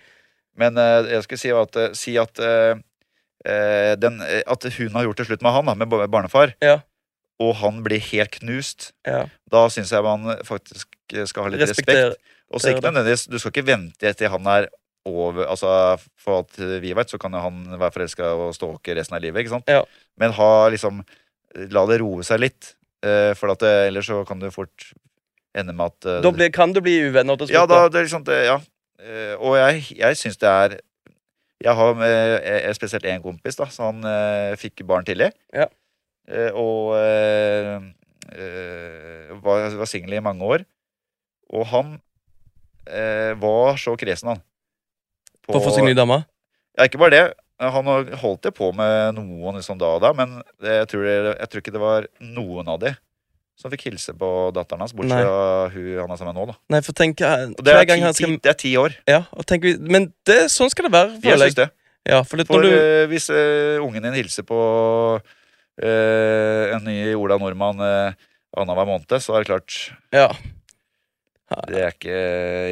Speaker 1: Men eh, jeg skal si at, eh, si at eh, eh, den, eh, At hun har gjort det slutt med han, da, med bar- barnefar,
Speaker 2: Ja.
Speaker 1: og han blir helt knust,
Speaker 2: Ja.
Speaker 1: da syns jeg man faktisk eh, skal ha litt
Speaker 2: Respekter.
Speaker 1: respekt. Og så ikke
Speaker 2: det.
Speaker 1: nødvendigvis Du skal ikke vente til han er over Altså, for at vi vet, så kan jo han være forelska og stalke resten av livet, ikke sant?
Speaker 2: Ja.
Speaker 1: Men ha liksom La det roe seg litt, eh, for at det, ellers så kan du fort ende med at eh,
Speaker 2: Da blir, kan du bli uvenner til slutt.
Speaker 1: ja, da, det er liksom det, ja. Eh, Og jeg, jeg syns det er Jeg har eh, eh, spesielt én kompis, da, så han eh, fikk barn tidlig.
Speaker 2: Ja.
Speaker 1: Eh, og eh, eh, var, var singel i mange år. Og han eh, var så kresen, han.
Speaker 2: På å få seg ny dame.
Speaker 1: Ja, ikke bare det. Han har holdt det på med noen liksom da og da, men det, jeg, tror det, jeg tror ikke det var noen av de som fikk hilse på datteren hans, bortsett
Speaker 2: Nei.
Speaker 1: fra hun han er sammen med nå. da.
Speaker 2: Nei, for tenk eh,
Speaker 1: Og det
Speaker 2: hver
Speaker 1: er,
Speaker 2: gang
Speaker 1: ti,
Speaker 2: han skal
Speaker 1: ti, det er ti år.
Speaker 2: Ja, og tenk, vi- men det, sånn skal det være,
Speaker 1: Jeg
Speaker 2: føler jeg.
Speaker 1: synes det.
Speaker 2: Ja, for det,
Speaker 1: For
Speaker 2: når du,
Speaker 1: eh, hvis eh, ungen din hilser på eh, en ny Ola Nordmann uh, annenhver måned, så er det klart
Speaker 2: ja,
Speaker 1: Det er ikke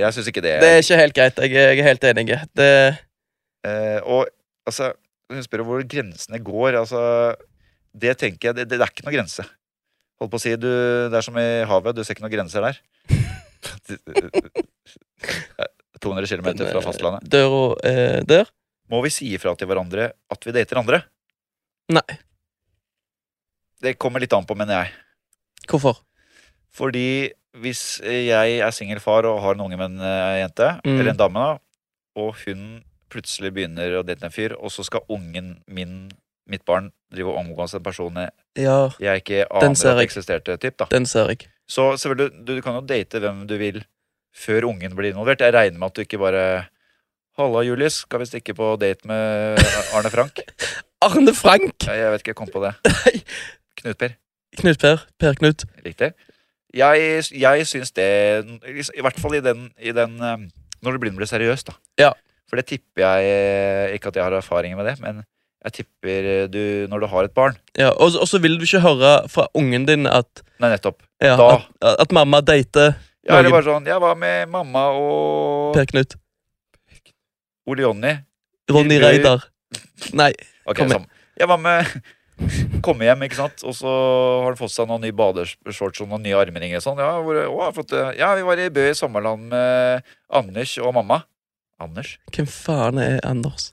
Speaker 1: Jeg syns ikke det.
Speaker 2: det er ikke helt greit. Jeg, jeg er helt enig. Det,
Speaker 1: Eh, og altså Hun spør hvor grensene går. Altså, det tenker jeg Det, det er ikke noe grense. Holdt på å si du, Det er som i havet. Du ser ikke noen grenser der. 200 km
Speaker 2: den,
Speaker 1: fra
Speaker 2: eh,
Speaker 1: fastlandet.
Speaker 2: Døra eh, der.
Speaker 1: Må vi si ifra til hverandre at vi dater andre?
Speaker 2: Nei.
Speaker 1: Det kommer litt an på, mener jeg.
Speaker 2: Hvorfor?
Speaker 1: Fordi hvis jeg er singel far og har en unge med en eh, jente,
Speaker 2: Mm.
Speaker 1: eller en dame, da, og hun plutselig begynner å date en fyr, og så skal ungen min, mitt barn, drive og omgås en person jeg-
Speaker 2: Ja,
Speaker 1: jeg ikke aner
Speaker 2: ser
Speaker 1: at
Speaker 2: jeg.
Speaker 1: eksisterte, typ, da.
Speaker 2: den ser jeg.
Speaker 1: Så selvfølgelig, du, du kan jo date hvem du vil før ungen blir involvert. Jeg regner med at du ikke bare Halla, Julius, skal vi stikke på date med Arne Frank?
Speaker 2: Arne Frank!
Speaker 1: Jeg, jeg vet ikke, jeg kom på
Speaker 2: [laughs]
Speaker 1: det. Knut Per.
Speaker 2: Knut Per. Per Knut.
Speaker 1: Riktig. Jeg, jeg syns det I hvert fall i den, i den eh, Når det begynner å bli seriøst, da.
Speaker 2: Ja.
Speaker 1: For det tipper jeg eh, Ikke at jeg har erfaringer med det, men jeg tipper eh, du Når du har et barn
Speaker 2: Ja, og, så- og så vil du ikke høre fra ungen din at,
Speaker 1: Nei, nettopp.
Speaker 2: ja,
Speaker 1: Da.
Speaker 2: at, at mamma dater
Speaker 1: Ja, eller
Speaker 2: Noen-
Speaker 1: bare sånn Jeg var med mamma og
Speaker 2: Per Knut.
Speaker 1: Ole Jonny.
Speaker 2: Ronny
Speaker 1: Hildur.
Speaker 2: Reidar. Nei.
Speaker 1: Ok,
Speaker 2: Kom igjen.
Speaker 1: samme. Jeg var med [laughs] Komme hjem, ikke sant, og så har han fått seg noen nye badeshorts og noen nye armringer og sånn. Ja, hvor, å, jeg har fått, det. ja, vi var i Bø i sommerland med Anders og mamma. Anders?
Speaker 2: Hvem faen er Anders?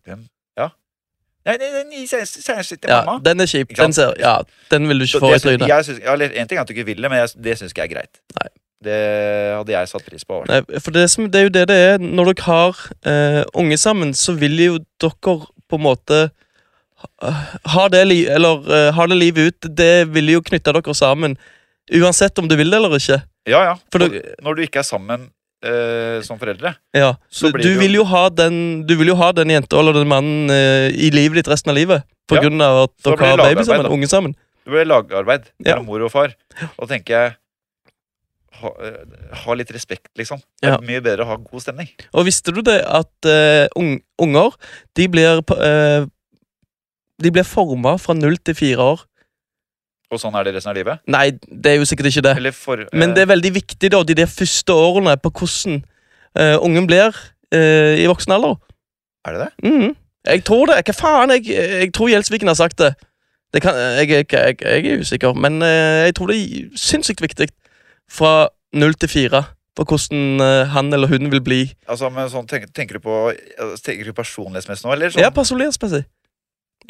Speaker 1: Nei, nei, nei, særskilt til
Speaker 2: Ja,
Speaker 1: mamma.
Speaker 2: den er kjip.
Speaker 1: Ikke
Speaker 2: Den
Speaker 1: sant?
Speaker 2: ser, ja, den vil du
Speaker 1: Så
Speaker 2: ikke få i
Speaker 1: det synes-
Speaker 2: trynet.
Speaker 1: jeg synes- ja, eller, en ting er at du ikke vil det, men jeg, det syns ikke jeg er greit.
Speaker 2: Nei.
Speaker 1: Det hadde jeg satt pris på.
Speaker 2: Nei, for det, som, det er jo det det er. Når dere har eh, unge sammen, så vil jo dere på en måte ha, ha det li eller, eh, ha det livet ut. Det vil jo knytte dere sammen. Uansett om du vil det eller ikke.
Speaker 1: Ja, ja.
Speaker 2: For
Speaker 1: Og
Speaker 2: du-
Speaker 1: Når du ikke er sammen eh, som foreldre.
Speaker 2: Ja.
Speaker 1: Så
Speaker 2: Du,
Speaker 1: blir
Speaker 2: du,
Speaker 1: det jo-
Speaker 2: vil jo ha den, du vil jo ha den jenta eller den mannen eh, i livet ditt resten av livet. På
Speaker 1: Ja.
Speaker 2: grunn av at
Speaker 1: Da blir
Speaker 2: dere
Speaker 1: det
Speaker 2: har baby
Speaker 1: lagarbeid, da.
Speaker 2: sammen, unge sammen.
Speaker 1: Det blir lagarbeid
Speaker 2: Ja.
Speaker 1: mellom mor og far. Og da tenker jeg ha, eh, ha litt respekt, liksom. Det er
Speaker 2: Ja.
Speaker 1: mye bedre å ha god stemning.
Speaker 2: Og visste du det at eh, ung, unger, de blir på- eh, De blir forma fra null til fire år.
Speaker 1: Og sånn er det resten av livet.
Speaker 2: Nei, det er jo sikkert ikke det.
Speaker 1: Eller for, eh,
Speaker 2: Men det er veldig viktig da, de der første årene på hvordan eh, ungen blir eh, i voksen alder.
Speaker 1: Er det det?
Speaker 2: Mhm. Jeg tror det. Hva faen? Jeg, jeg tror Gjelsviken har sagt det. det kan, jeg, jeg, jeg, jeg er usikker, men eh, jeg tror det er sinnssykt viktig fra null til fire for hvordan eh, han eller hun vil bli.
Speaker 1: Altså, men sånn, tenker, tenker du på eh, Tenker du personlighetsmessig nå, eller? Sånn?
Speaker 2: Ja, personlighetsmessig.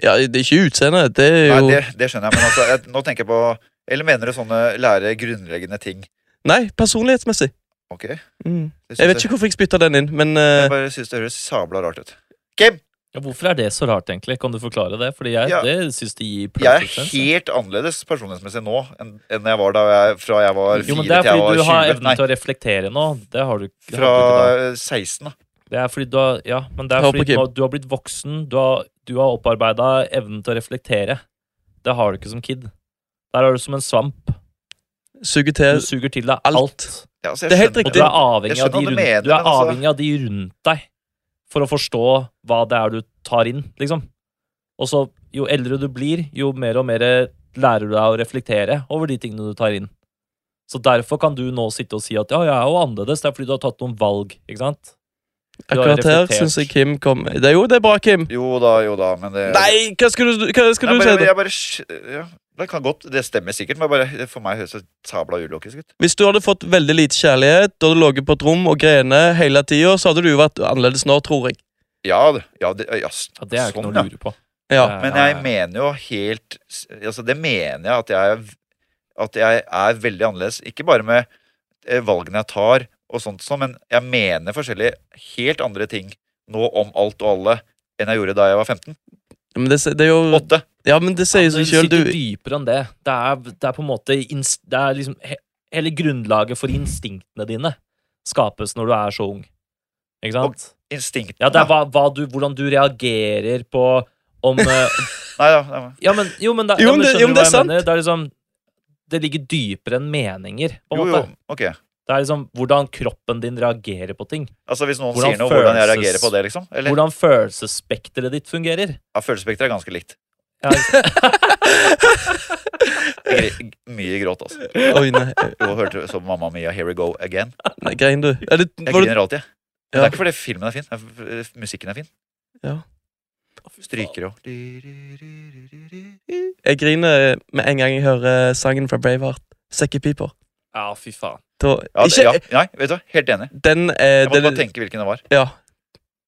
Speaker 2: Ja, det er ikke utseendet. Det er jo
Speaker 1: Nei, det, det skjønner jeg, men altså, jeg, nå tenker jeg på Eller mener du sånne lære grunnleggende ting?
Speaker 2: Nei, personlighetsmessig.
Speaker 1: Ok?
Speaker 2: Mhm.
Speaker 1: Det synes
Speaker 3: Mm.
Speaker 2: Jeg vet ikke hvorfor jeg spytta den inn, men eh,
Speaker 1: Jeg bare synes det høres sabla rart ut. Kim!
Speaker 3: Ja, hvorfor er det så rart, egentlig? Kan du forklare det? Fordi jeg,
Speaker 1: Ja.
Speaker 3: det syns det gir
Speaker 1: Jeg er
Speaker 3: perfect sense.
Speaker 1: helt annerledes personlighetsmessig nå enn, enn jeg var da jeg, fra jeg var
Speaker 3: Jo,
Speaker 1: fire
Speaker 3: men
Speaker 1: til
Speaker 3: Det er
Speaker 1: jeg
Speaker 3: fordi
Speaker 1: var
Speaker 3: du har
Speaker 1: 20.
Speaker 3: evnen
Speaker 1: Nei,
Speaker 3: til å reflektere nå. Det har du ikke. det
Speaker 1: fra
Speaker 3: hadde du ikke da.
Speaker 1: eh, 16, da.
Speaker 3: Det er fordi du har, ja, men det er
Speaker 2: Hør på
Speaker 3: fordi
Speaker 2: Kim.
Speaker 3: nå, du har blitt voksen. Du har, du har opparbeida evnen til å reflektere. Det har du ikke som kid. Der er du som en svamp.
Speaker 2: Suger
Speaker 3: Du
Speaker 2: til
Speaker 3: suger til deg
Speaker 2: alt.
Speaker 3: alt.
Speaker 1: Ja, altså, jeg
Speaker 2: Det er helt
Speaker 1: skjønner
Speaker 3: Og du
Speaker 2: riktig.
Speaker 3: er avhengig,
Speaker 1: Jeg
Speaker 3: av
Speaker 1: skjønner
Speaker 3: de,
Speaker 1: hva du
Speaker 3: rundt,
Speaker 1: mener,
Speaker 3: du er
Speaker 1: men altså-
Speaker 3: avhengig av de rundt deg for å forstå hva det er du tar inn, liksom. Og så, jo eldre du blir, jo mer og mer lærer du deg å reflektere over de tingene du tar inn. Så derfor kan du nå sitte og si at ja, jeg er jo annerledes, det er fordi du har tatt noen valg, ikke sant? Du har
Speaker 2: Akkurat her
Speaker 3: reflektert.
Speaker 2: syns jeg Kim kom det, er Jo, det er bra, Kim.
Speaker 1: Jo da, jo da, men det
Speaker 2: Nei, hva skal du, hva skal
Speaker 1: Nei,
Speaker 2: du
Speaker 1: bare,
Speaker 2: si? da?
Speaker 1: Jeg bare, sk- ja, det kan godt, det stemmer sikkert, men bare, for meg høres det sabla ulogisk ut.
Speaker 2: Hvis du hadde fått veldig lite kjærlighet, du hadde ligget på et rom og grene hele tida, så hadde du jo vært annerledes nå, tror jeg.
Speaker 1: Ja, det- ja, det, ja, s-
Speaker 3: Ja, det er jo ikke
Speaker 1: sånn,
Speaker 3: noe
Speaker 1: ja.
Speaker 3: å lure på.
Speaker 2: Ja.
Speaker 3: Det er-
Speaker 1: Men jeg mener jo helt s- altså Det mener jeg at jeg, at jeg er veldig annerledes. Ikke bare med eh, valgene jeg tar, og sånt sånn, men jeg mener forskjellige helt andre ting nå om alt og alle enn jeg gjorde da jeg var 15.
Speaker 2: Men det, det er
Speaker 3: Mm.
Speaker 2: jo
Speaker 1: Åtte.
Speaker 2: Ja, men det sier
Speaker 3: Ja, men
Speaker 2: seg sjøl,
Speaker 3: Det
Speaker 2: du.
Speaker 3: sitter dypere enn det. Det er, det er på en måte ins- Det er liksom he Hele grunnlaget for instinktene dine skapes når du er så ung. Ikke sant?
Speaker 1: Instinkt.
Speaker 3: Ja, det er hva, hva du, hvordan du reagerer på om
Speaker 2: [laughs]
Speaker 3: eh,
Speaker 1: Nei, ja, nei,
Speaker 3: Ja, men, jo, men, da,
Speaker 2: Jo,
Speaker 3: ja,
Speaker 2: men
Speaker 3: men
Speaker 2: det-
Speaker 3: skjønner
Speaker 2: jo,
Speaker 3: du
Speaker 2: men
Speaker 3: hva
Speaker 2: det er
Speaker 3: jeg
Speaker 2: sant.
Speaker 3: mener? Det er liksom Det ligger dypere enn meninger, på en
Speaker 1: jo, jo,
Speaker 3: måte.
Speaker 1: ok.
Speaker 3: Det er liksom hvordan kroppen din reagegerer på ting.
Speaker 1: Altså Hvis noen
Speaker 3: Hvordan
Speaker 1: sier noe, hvordan jeg
Speaker 3: følelses-
Speaker 1: reagerer på det, liksom? Eller?
Speaker 3: Hvordan følelsesspekteret ditt fungerer. liksom,
Speaker 1: Ja, Følelsesspekteret er ganske likt.
Speaker 2: [laughs]
Speaker 3: Ja, ikke-
Speaker 1: Gr- Mye gråt, altså.
Speaker 2: [laughs] Oi, nei. eh,
Speaker 1: Jo, hørte du så Mamma Mia, Here We Go Again?
Speaker 2: nei grein, du. Er det,
Speaker 1: Jeg
Speaker 2: var det,
Speaker 1: griner alltid. jeg. Men
Speaker 2: Ja.
Speaker 1: Det er ikke fordi filmen er fin. det er f- f- Musikken er fin.
Speaker 2: Ja.
Speaker 1: Stryker jo.
Speaker 2: jeg griner eh, med en gang jeg hører eh, sangen fra Braveheart. Sekkepiper.
Speaker 3: ja fy faen.
Speaker 2: Da,
Speaker 1: Ja, det,
Speaker 2: ikke,
Speaker 1: ja, nei, vet du hva? Helt enig.
Speaker 2: Den er,
Speaker 1: Jeg måtte bare
Speaker 2: den,
Speaker 1: tenke hvilken det var.
Speaker 2: ja,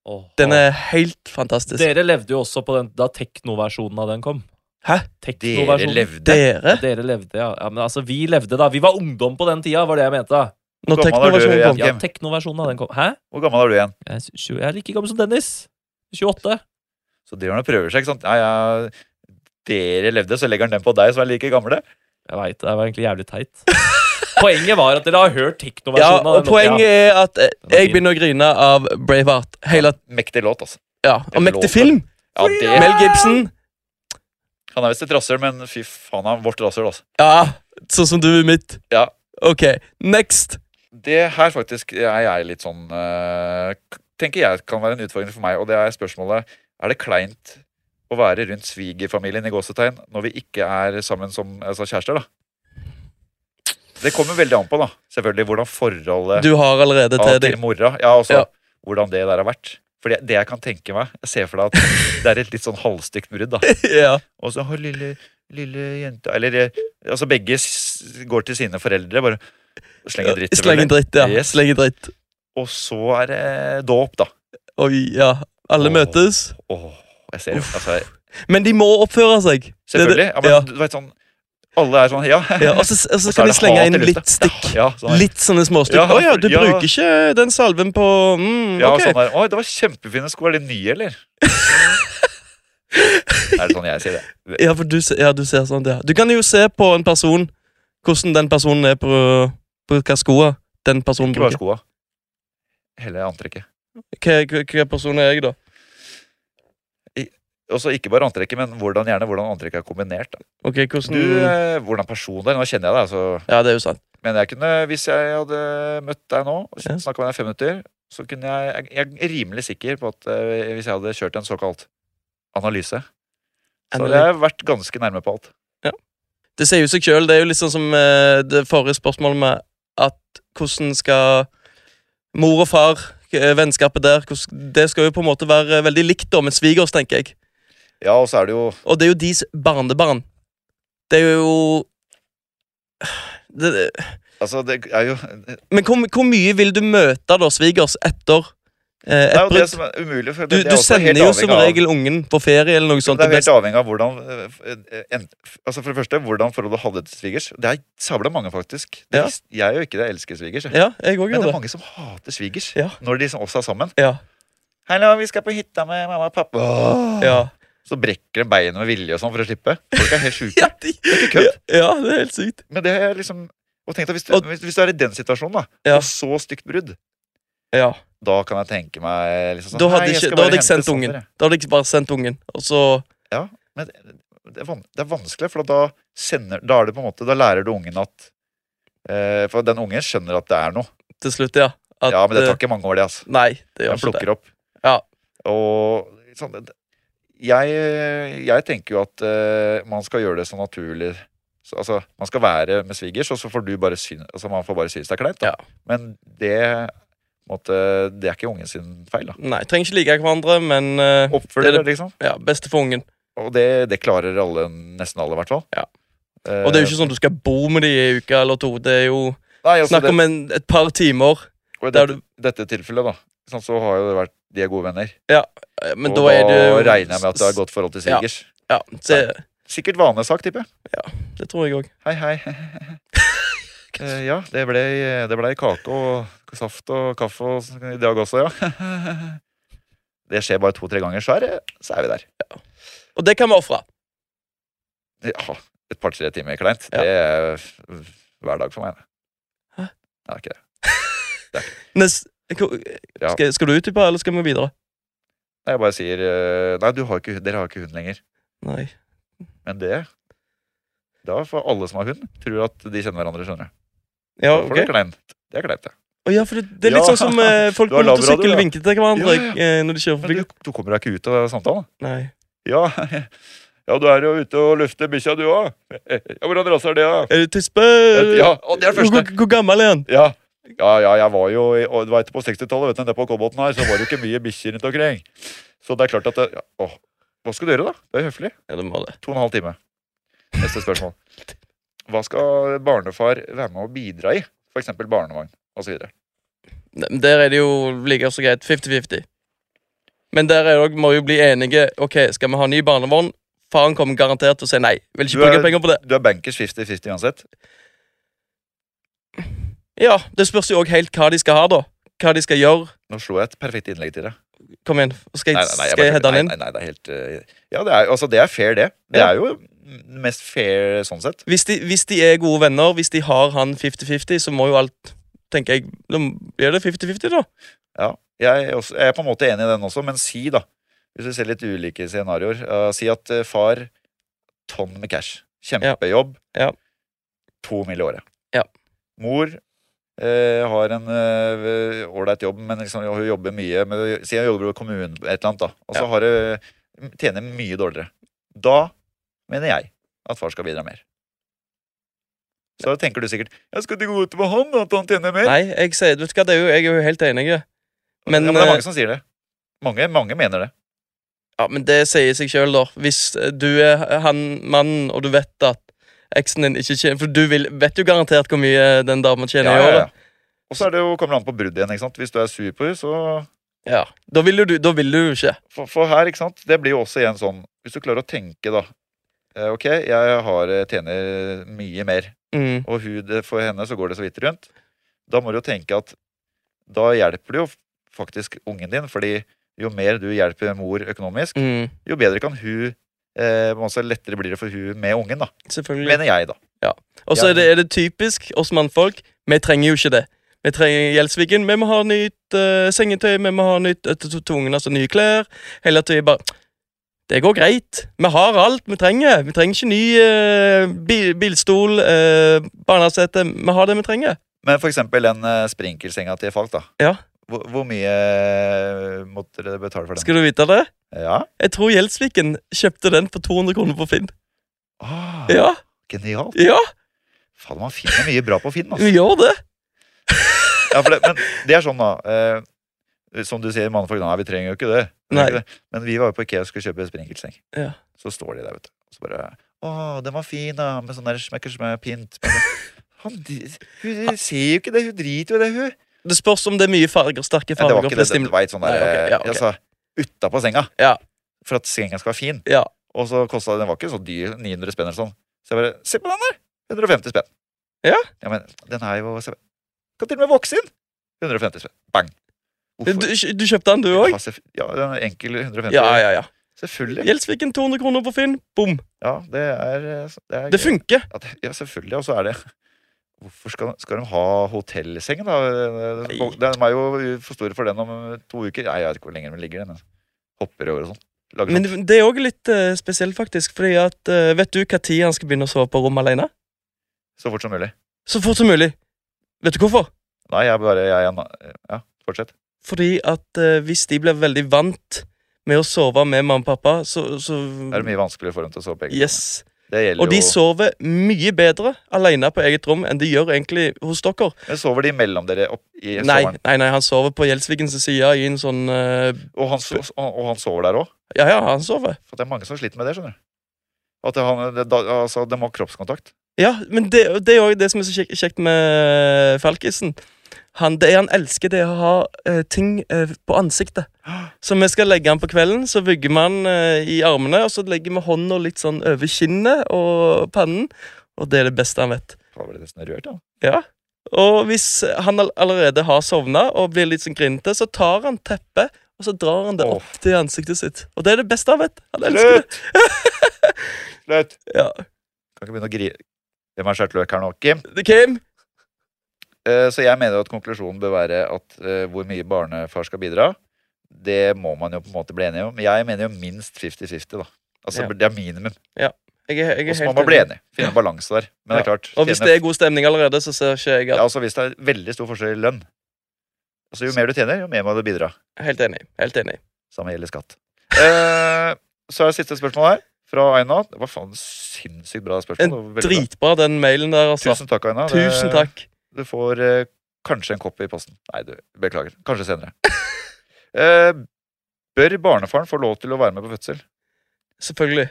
Speaker 3: Åh.
Speaker 2: den er helt fantastisk.
Speaker 3: Dere levde jo også på den da teknoversjonen av den kom.
Speaker 2: Hæ?
Speaker 1: Dere
Speaker 2: sånn-
Speaker 3: Teknoversjonen.
Speaker 1: levde.
Speaker 2: Dere?
Speaker 3: Dere levde, ja. ja. Men altså, vi levde da. Vi var ungdom på den tida, var det jeg mente. da.
Speaker 2: Når
Speaker 1: Gammel er du,
Speaker 2: teknoversjonen kom.
Speaker 1: ja.
Speaker 3: Ja,
Speaker 1: Jevn.
Speaker 3: teknoversjonen av den kom. Hæ?
Speaker 1: Hvor gammel er du igjen?
Speaker 3: Jeg er, sy- tjue- jeg er like gammel som Dennis. 28.
Speaker 1: Så driver han og prøver seg, ikke sant? Nei, ja, dere levde, så legger han den på deg som er like gamle.
Speaker 3: Jeg veit, det var egentlig jævlig teit. [laughs] Poenget var at dere har hørt
Speaker 2: Ja,
Speaker 3: teknoversjonen. av
Speaker 2: og
Speaker 3: den-
Speaker 2: poenget er
Speaker 3: ja.
Speaker 2: at eh,
Speaker 3: Den var
Speaker 2: jeg
Speaker 3: fin.
Speaker 2: begynner å grine av Braveheart. Hele,
Speaker 1: Mektig låt, altså.
Speaker 2: ja,
Speaker 1: er
Speaker 2: Og mektig
Speaker 1: lov,
Speaker 2: film!
Speaker 1: Ja, det,
Speaker 2: Mel Gibson.
Speaker 1: han er visst et rasshøl, men fy faen, han er vårt rasshøl, altså.
Speaker 2: Ja, sånn som du er mitt.
Speaker 1: Ja.
Speaker 2: Ok, next.
Speaker 1: Det her faktisk er jeg litt sånn eh, k- Tenker jeg kan være en utfordring for meg, og det er spørsmålet Er det kleint å være rundt svigerfamilien i gåsetegn når vi ikke er sammen som altså, kjærester, da? Det kommer veldig an på, da. Selvfølgelig hvordan forholdet
Speaker 2: Du har allerede
Speaker 1: av
Speaker 2: til
Speaker 1: til
Speaker 2: deg.
Speaker 1: mora Ja, altså
Speaker 2: Ja.
Speaker 1: hvordan det der har vært. For det, det jeg kan tenke meg Jeg ser for deg at det er et litt sånn halvstygt brudd, da.
Speaker 2: [laughs] Ja.
Speaker 1: Og så har lille, lille jenta Eller eh, altså begge s- går til sine foreldre, bare slenger dritt.
Speaker 2: Slenge
Speaker 1: selvfølgelig.
Speaker 2: dritt, ja.
Speaker 1: Yes.
Speaker 2: Slenge dritt.
Speaker 1: Og så er det dåp, da.
Speaker 2: Oi, ja. Alle
Speaker 1: Åh.
Speaker 2: møtes.
Speaker 1: Åh, jeg ser jo altså,
Speaker 2: Men de må oppføre seg. Det er det-
Speaker 1: Selvfølgelig. Ja, men
Speaker 2: ja.
Speaker 1: du vet sånn Alle er sånn Ja. [laughs]
Speaker 2: Ja, og så, og så
Speaker 1: Og så er
Speaker 2: kan de
Speaker 1: det
Speaker 2: slenge
Speaker 1: hat
Speaker 2: inn
Speaker 1: i lufta.
Speaker 2: litt stikk.
Speaker 1: Ja, sånn der.
Speaker 2: Litt sånne småstykker.
Speaker 1: Ja,
Speaker 2: Å ja, du
Speaker 1: ja.
Speaker 2: bruker ikke den salven på mm,
Speaker 1: Ja,
Speaker 2: Ok.
Speaker 1: sånn der. Oi, det var kjempefine sko. Er de nye,
Speaker 2: [laughs]
Speaker 1: eller? er det sånn jeg sier det?
Speaker 2: Ja, for du, se- ja, du ser sånn, ja. Du kan jo se på en person hvordan den personen er på, på hva skoa den personen
Speaker 1: Ikke bare
Speaker 2: Sånn bruker.
Speaker 1: skoa. Hele antrekket.
Speaker 2: Hva, hva, hva person er jeg, da?
Speaker 1: Og så ikke bare antrekket, men hvordan gjerne hvordan antrekket er kombinert. Da.
Speaker 2: Ok,
Speaker 1: Du,
Speaker 2: hvordan
Speaker 1: eh, Hvordan personen er. Nå kjenner jeg deg, altså.
Speaker 2: Ja, det er jo sant.
Speaker 1: Men jeg kunne, hvis jeg hadde møtt deg nå og
Speaker 2: Ja.
Speaker 1: snakka med deg i fem minutter, så kunne jeg Jeg jeg er rimelig sikker på at eh, hvis jeg hadde kjørt en såkalt analyse, så hadde jeg vært ganske nærme på alt.
Speaker 2: Det sier jo seg sjøl. Det er jo litt sånn som eh, det forrige spørsmålet med at hvordan skal mor og far eh, Vennskapet der hvordan, Det skal jo på en måte være eh, veldig likt da med svigers, tenker jeg.
Speaker 1: Ja, og så er det jo
Speaker 2: Og det er jo deres barnebarn. Det er jo det, det-
Speaker 1: Altså, det er jo
Speaker 2: Men hvor, hvor mye vil du møte da svigers etter
Speaker 1: Det
Speaker 2: eh,
Speaker 1: er
Speaker 2: et
Speaker 1: jo det
Speaker 2: brudd?
Speaker 1: som er umulig. For
Speaker 2: Du,
Speaker 1: det er
Speaker 2: du
Speaker 1: også helt
Speaker 2: sender jo
Speaker 1: avhengig
Speaker 2: som
Speaker 1: av-
Speaker 2: regel ungen på ferie eller noe sånt.
Speaker 1: Det er
Speaker 2: Det
Speaker 1: helt
Speaker 2: best-
Speaker 1: avhengig av hvordan eh, en, Altså For det første, hvordan forholdet hadde til svigers. Det er sabla mange, faktisk. Det
Speaker 2: Ja.
Speaker 1: visste jeg jo ikke det. Jeg elsker svigers. jeg.
Speaker 2: Ja, jeg
Speaker 1: Men det
Speaker 2: òg gjør
Speaker 1: er
Speaker 2: det.
Speaker 1: mange som hater svigers
Speaker 2: Ja.
Speaker 1: når de som også er sammen.
Speaker 2: Ja.
Speaker 1: Hallo, vi skal på hytta med mamma og pappa. Åh.
Speaker 2: Ja.
Speaker 1: Så brekker det beinet med vilje og sånn for å slippe. Folk er helt sjuke.
Speaker 2: Ja, de,
Speaker 1: Det er ikke
Speaker 2: [laughs] ja,
Speaker 1: kødd.
Speaker 2: ja, det er helt sykt.
Speaker 1: Men det er liksom og tenk deg, hvis, du,
Speaker 2: Og-
Speaker 1: hvis, hvis du er i den situasjonen, da,
Speaker 2: Ja.
Speaker 1: og så stygt brudd,
Speaker 2: Ja.
Speaker 1: da kan jeg tenke meg liksom sånn
Speaker 2: Da hadde
Speaker 1: «Nei, jeg
Speaker 2: ikke-
Speaker 1: skal
Speaker 2: da
Speaker 1: bare
Speaker 2: hadde jeg
Speaker 1: hente
Speaker 2: sendt ungen.
Speaker 1: Sander, jeg».
Speaker 2: Da hadde jeg bare sendt ungen, og så
Speaker 1: Men det, det, er van, det er vanskelig, for da, sender, da, er det på en måte, da lærer du ungen at eh, For den ungen skjønner at det er noe.
Speaker 2: til slutt, ja. at,
Speaker 1: ja, Men det
Speaker 2: eh,
Speaker 1: tar ikke mange år, det. altså.
Speaker 2: Nei,
Speaker 1: Den
Speaker 2: det gjør ikke det.
Speaker 1: plukker opp.
Speaker 2: Ja.
Speaker 1: Og sånn det- jeg, jeg tenker jo at eh, man skal gjøre det så naturlig så, Altså, man skal være med svigers, og så får du bare syn, altså, man får bare synes det er kleint. da.
Speaker 2: Ja.
Speaker 1: Men det på en måte, det er ikke ungen sin feil. da.
Speaker 2: Nei, trenger ikke like hverandre, men eh,
Speaker 1: Oppfør
Speaker 2: Det er
Speaker 1: dere, liksom.
Speaker 2: ja, beste for ungen.
Speaker 1: Og det, det klarer alle, nesten alle, i hvert fall. Eh,
Speaker 2: Ja. Og det er jo ikke sånn du skal bo med de i en uke eller to. Det er jo
Speaker 1: Nei, altså,
Speaker 2: snakk
Speaker 1: det,
Speaker 2: om en, et par timer.
Speaker 1: og i
Speaker 2: der
Speaker 1: dette, dette tilfellet, da, sånn, så har jo det vært de er gode venner.
Speaker 2: Eh, Men
Speaker 1: og
Speaker 2: da er det jo
Speaker 1: regner jeg med at det har godt forhold til
Speaker 2: Ja.
Speaker 1: svigers.
Speaker 2: Ja, det,
Speaker 1: Sikkert vanesak, tipper jeg.
Speaker 2: det tror jeg òg.
Speaker 1: Hei, hei.
Speaker 2: [laughs]
Speaker 1: Eh, ja, det ble, det ble kake og saft og kaffe og, s- i dag også, ja. [laughs] det skjer bare to-tre ganger, så er, det, så er vi der.
Speaker 2: Og det kan vi ofre.
Speaker 1: Ja, ah, et par-tre timer kleint.
Speaker 2: Ja.
Speaker 1: Det er f- hver dag for meg. det.
Speaker 2: Hæ?
Speaker 1: Det er ikke det.
Speaker 2: Nes- ko-
Speaker 1: Ja.
Speaker 2: Skal, skal du utdype, eller skal vi videre?
Speaker 1: Nei, Jeg bare sier eh, Nei, du har ikke, hund- dere har ikke hund lenger.
Speaker 2: Nei.
Speaker 1: Men det Da får alle som har hund, tror at de kjenner hverandre, skjønner du.
Speaker 2: Ja,
Speaker 1: Da får du
Speaker 2: Ah, ok.
Speaker 1: kleint. Det er kleint, det.
Speaker 2: Å ja, for det, det er
Speaker 1: Ja.
Speaker 2: litt sånn som eh,
Speaker 1: [laughs]
Speaker 2: folk
Speaker 1: Du har
Speaker 2: på
Speaker 1: labrador,
Speaker 2: motorsykkel
Speaker 1: ja.
Speaker 2: vinker til hverandre
Speaker 1: Ja, ja,
Speaker 2: eh, når de kjører
Speaker 1: Men
Speaker 2: forbi.
Speaker 1: du, du kommer deg ikke ut av samtalen.
Speaker 2: Nei.
Speaker 1: Ja, [laughs] ja du er jo ute og lufter bikkja, du òg. [laughs] Ja, hvordan rase er det, da?
Speaker 2: Er du tispe? Hvor,
Speaker 1: Ja, Eh, å, det er det første.
Speaker 2: hvor- hvor gammel er han?
Speaker 1: Ja. ja, ja, jeg var jo i- og Det var etterpå 60-tallet, vet du, nede på Kolbotn her, så var det jo ikke mye bikkjer rundt omkring. Så det er klart at det, ja, åh, Hva skal du gjøre, da? Det er jo høflig.
Speaker 2: Ja, det må det.
Speaker 1: To og en halv time. Neste spørsmål. Hva skal barnefar være med å bidra i? F.eks. barnevogn osv.
Speaker 2: Nei, men Der er det jo like så greit 50-50. Men der er det, også- må jo bli enige. Ok, Skal vi ha ny barnevogn? Faren kommer garantert til å si nei. Vil ikke
Speaker 1: Du er-
Speaker 2: bruke penger på det.
Speaker 1: Du er bankers 50-50 uansett.
Speaker 2: Ja, Det spørs jo òg helt hva de skal ha, da. Hva de skal gjøre.
Speaker 1: Nå slo jeg et perfekt innlegg til deg.
Speaker 2: Kom igjen. Skal
Speaker 1: Nei,
Speaker 2: jeg,
Speaker 1: nei, nei, jeg
Speaker 2: skal jeg
Speaker 1: bare-
Speaker 2: heade han
Speaker 1: nei,
Speaker 2: inn?
Speaker 1: Nei, nei, det er helt eh, Ja, det er, altså, det er fair, det. Det
Speaker 2: Ja.
Speaker 1: er jo mest fair sånn sett.
Speaker 2: Hvis de, hvis de er gode venner, hvis de har han 50-50, så må jo alt tenker jeg, Da blir det 50-50, da.
Speaker 1: Jeg er, også, jeg er på en måte enig i den også, men si, da, hvis vi ser litt ulike scenarioer eh, Si at eh, far tonn med cash. Kjempejobb.
Speaker 2: Ja.
Speaker 1: To mill. i året.
Speaker 2: Ja.
Speaker 1: Mor eh, har en eh, ålreit jobb, men liksom, hun jobber mye. Med, si hun jobber i kommunen, et eller annet, da. Og så
Speaker 2: Ja.
Speaker 1: har hun tjener mye dårligere. Da mener jeg at far skal bidra mer. Så tenker du sikkert Jeg skal ikke gå ut med han, at han tjener mer.
Speaker 2: Nei, jeg sier, vet du hva, det er jo, jeg er jo helt enig. Men,
Speaker 1: ja, men det er
Speaker 2: eh,
Speaker 1: mange som sier det. Mange, mange mener det.
Speaker 2: Ja, men det sier seg sjøl, da. Hvis eh, du er han mannen, og du vet at eksen din ikke tjener For du vil, vet jo garantert hvor mye den dama tjener i året.
Speaker 1: Og så er det jo, kommer det an på bruddet igjen. ikke sant? Hvis du er sur på henne, så
Speaker 2: Ja. Da vil jo du, da vil du jo ikke.
Speaker 1: for, for her, ikke sant, det blir jo også igjen sånn Hvis du klarer å tenke, da. eh, Ok, jeg har, eh, tjener mye mer,
Speaker 2: Mm.
Speaker 1: og hun, det- for henne så går det så vidt rundt. Da må du jo tenke at da hjelper du jo faktisk ungen din, fordi jo mer du hjelper mor økonomisk,
Speaker 2: Mm.
Speaker 1: jo bedre kan hun eh, på en måte lettere blir det for hun med ungen, da.
Speaker 2: Selvfølgelig.
Speaker 1: Mener jeg, da.
Speaker 2: Og så
Speaker 1: ja.
Speaker 2: er, det- er det typisk oss mannfolk. Vi trenger jo ikke det. Vi trenger Gjelsviken. Vi må ha nytt eh, sengetøy, vi må ha nytt eh, til- til ungen, altså nye klær. Hele tiden bare Det går greit. Vi har alt vi trenger. Vi trenger ikke ny eh, bil, bilstol, eh, barnesete. Vi har det vi trenger.
Speaker 1: Men for eksempel den eh, sprinkelsenga til Falk, da.
Speaker 2: Ja.
Speaker 1: Hvor, hvor mye eh, måtte dere betale for den?
Speaker 2: Skal du vite det?
Speaker 1: Ja.
Speaker 2: Jeg tror Gjelsviken kjøpte den for 200 kroner på Finn.
Speaker 1: Ah,
Speaker 2: Ja,
Speaker 1: Genialt.
Speaker 2: ja,
Speaker 1: Faen, man finner mye bra på Finn.
Speaker 2: vi
Speaker 1: Altså.
Speaker 2: gjør det.
Speaker 1: Ja, for det, men det er sånn, da. Eh, som du sier, mannfolk Nei, vi trenger jo ikke det. Vi trenger
Speaker 2: Nei.
Speaker 1: ikke det. Men vi var jo på IKEA og skulle kjøpe sprinkelseng.
Speaker 2: Ja.
Speaker 1: Så står de der, vet du. Og så bare Å, den var fin, da. Med sånn der smekker som er pynt. Men Han, hun ser jo ikke det. Hun driter jo i det, hun.
Speaker 2: Det spørs om det er mye farger,
Speaker 1: Nei,
Speaker 2: sterke
Speaker 1: det var
Speaker 2: farger.
Speaker 1: ikke
Speaker 2: for
Speaker 1: det.
Speaker 2: det
Speaker 1: Det
Speaker 2: stimul-
Speaker 1: var et sånn der
Speaker 2: Nei, ok, ja, ok.
Speaker 1: altså, Utapå senga.
Speaker 2: Ja.
Speaker 1: For at senga skal være fin.
Speaker 2: Ja.
Speaker 1: Og så kosta den var ikke så dyr. 900 spenn eller sånn. Så jeg bare Se på den der! 150 spenn.
Speaker 2: Ja.
Speaker 1: ja men den er jo se, Kan til og med vokse inn! 150 spenn. Bang.
Speaker 2: Du, du kjøpte den, du òg?
Speaker 1: Ja, selvf- ja, det er en enkel 150.
Speaker 2: Ja, ja, ja.
Speaker 1: Selvfølgelig.
Speaker 2: Gjeldsviken 200 kroner på Finn. Bom!
Speaker 1: Ja, det er, eh, så- det er
Speaker 2: Det funker.
Speaker 1: Ja, det- ja, selvfølgelig. Og så er det Hvorfor skal, skal de ha hotellseng, da?
Speaker 2: Nei.
Speaker 1: Den er jo for store for den om to uker. Nei, jeg vet ikke hvor lenge den ligger. Den hopper over og sånn. Lager
Speaker 2: Men
Speaker 1: sånn.
Speaker 2: det- det er òg litt eh, spesielt, faktisk. Fordi at, eh, Vet du når han skal begynne å sove på rom alene?
Speaker 1: Så fort som mulig.
Speaker 2: Så fort som mulig. Vet du hvorfor?
Speaker 1: Nei, jeg bare jeg, jeg, Ja, fortsett.
Speaker 2: Fordi at eh, hvis de blir veldig vant med å sove med mamma og pappa, så, så
Speaker 1: Det er det mye vanskeligere for dem til å sove på egen hånd.
Speaker 2: Yes.
Speaker 1: Det gjelder
Speaker 2: Og de
Speaker 1: jo
Speaker 2: sover mye bedre alene på eget rom enn de gjør egentlig hos dere.
Speaker 1: Men Sover de mellom dere opp i
Speaker 2: Nei,
Speaker 1: sommeren?
Speaker 2: nei, nei, han sover på Gjelsvigens side i en sånn eh,
Speaker 1: Og han, so- og, og han sover der òg?
Speaker 2: Ja, ja, han sover.
Speaker 1: For det er mange som sliter med det, skjønner du. At det, han, det, da, altså, de har kroppskontakt.
Speaker 2: Ja, men det, det er jo det som er så kjek- kjekt med eh, Falkisen. Han, det han elsker, det er å ha eh, ting eh, på ansiktet. Så vi skal legge han på kvelden, så vugger vi han eh, i armene, og så legger vi hånda litt sånn over kinnet og pannen, og det er det beste han vet.
Speaker 1: Da ble jeg nesten rørt, da.
Speaker 2: Og hvis han all allerede har sovna og blir litt sånn grinete, så tar han teppet, og så drar han det
Speaker 1: Åh.
Speaker 2: opp til ansiktet sitt. Og det er det beste han vet. Han elsker det. [laughs]
Speaker 1: Slutt!
Speaker 2: Ja.
Speaker 1: Kan ikke begynne å grine. Hvem er skjørtløk her nå, Kim?
Speaker 2: Det Kim?
Speaker 1: Eh, Så jeg mener at konklusjonen bør være at eh, hvor mye barnefar skal bidra, det må man jo på en måte bli enige om. Men Jeg mener jo minst 50-50, da. Altså,
Speaker 2: Ja.
Speaker 1: Det er minimum.
Speaker 2: Jeg er, jeg
Speaker 1: Og
Speaker 2: er
Speaker 1: så må
Speaker 2: helt
Speaker 1: man bli
Speaker 2: enig.
Speaker 1: enig. Finne en balanse der. Men det er klart
Speaker 2: Og hvis
Speaker 1: tjener-
Speaker 2: det er god stemning allerede, så ser ikke jeg
Speaker 1: ja,
Speaker 2: at
Speaker 1: altså, hvis det er veldig stor forskjell i lønn Altså, Jo mer du tjener, jo mer må du bidra.
Speaker 2: Helt enig. helt enig.
Speaker 1: Samme gjelder skatt. Eh, så er det siste spørsmål her, fra Aina. Det var faen sinnssykt bra spørsmål.
Speaker 2: En
Speaker 1: Det var veldig bra.
Speaker 2: Dritbra, den mailen der, altså.
Speaker 1: Tusen takk, Aina. Det-
Speaker 2: Tusen takk.
Speaker 1: Du får eh, kanskje en kopp i posten. Nei, du, beklager. Kanskje senere. [laughs] Eh, bør barnefaren få lov til å være med på fødsel?
Speaker 2: Selvfølgelig.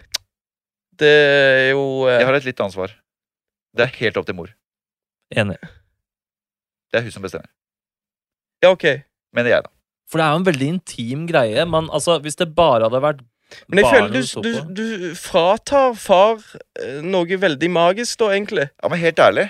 Speaker 2: Det er jo eh,
Speaker 1: Jeg har et litt annet svar. Det er helt opp til mor.
Speaker 3: Enig.
Speaker 1: Det er hun som bestemmer.
Speaker 2: Ja, OK.
Speaker 1: Mener jeg, da.
Speaker 3: For det er jo en veldig intim greie. Man, altså, hvis det bare hadde vært
Speaker 2: Men jeg føler
Speaker 3: barnet
Speaker 2: du,
Speaker 3: du så
Speaker 2: du,
Speaker 3: på
Speaker 2: du fratar far eh, noe veldig magisk, da, egentlig.
Speaker 1: Ja, men helt ærlig,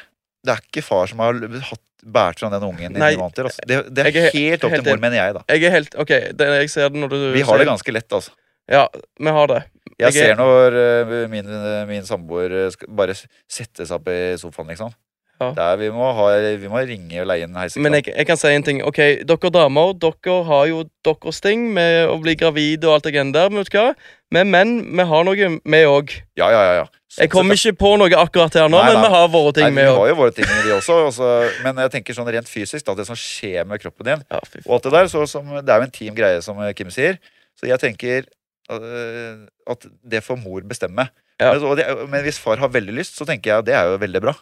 Speaker 1: det er ikke far som har l- hatt båret fram den ungen i
Speaker 2: Nei,
Speaker 1: ni måneder. Altså. Det, det
Speaker 2: jeg er
Speaker 1: er
Speaker 2: he-
Speaker 1: helt opp
Speaker 2: helt
Speaker 1: til mor,
Speaker 2: enig.
Speaker 1: mener jeg, da.
Speaker 2: Jeg er helt OK, det, jeg ser det når du
Speaker 1: Vi
Speaker 2: sier-
Speaker 1: har det ganske lett, altså.
Speaker 2: Ja, vi har det.
Speaker 1: Jeg
Speaker 2: Jeg er-
Speaker 1: ser når eh, min, min samboer eh, skal bare s- sette seg opp i sofaen, liksom.
Speaker 2: Ja.
Speaker 1: Der, vi, må ha, vi må ringe og leie inn heisekran.
Speaker 2: Men jeg, jeg kan si en ting. Ok, Dere damer dere har jo deres ting med å bli gravid og alt det greiene der. Men vet du hva? Vi menn vi har noe, vi òg.
Speaker 1: Ja, ja, ja, ja.
Speaker 2: Jeg kommer ikke på noe akkurat her nå,
Speaker 1: Nei,
Speaker 2: men
Speaker 1: nei.
Speaker 2: vi har våre ting,
Speaker 1: Nei,
Speaker 2: vi
Speaker 1: vi
Speaker 2: òg.
Speaker 1: har jo våre ting, vi også. også men jeg tenker sånn rent fysisk, da, det som skjer med kroppen din.
Speaker 2: Ja, fy f-
Speaker 1: Og alt Det der, så, som, det er jo en team greie, som eh, Kim sier. Så jeg tenker øh, at det får mor bestemme.
Speaker 2: Ja.
Speaker 1: Men, så- og det, men hvis far har veldig lyst, så tenker jeg det er jo veldig bra.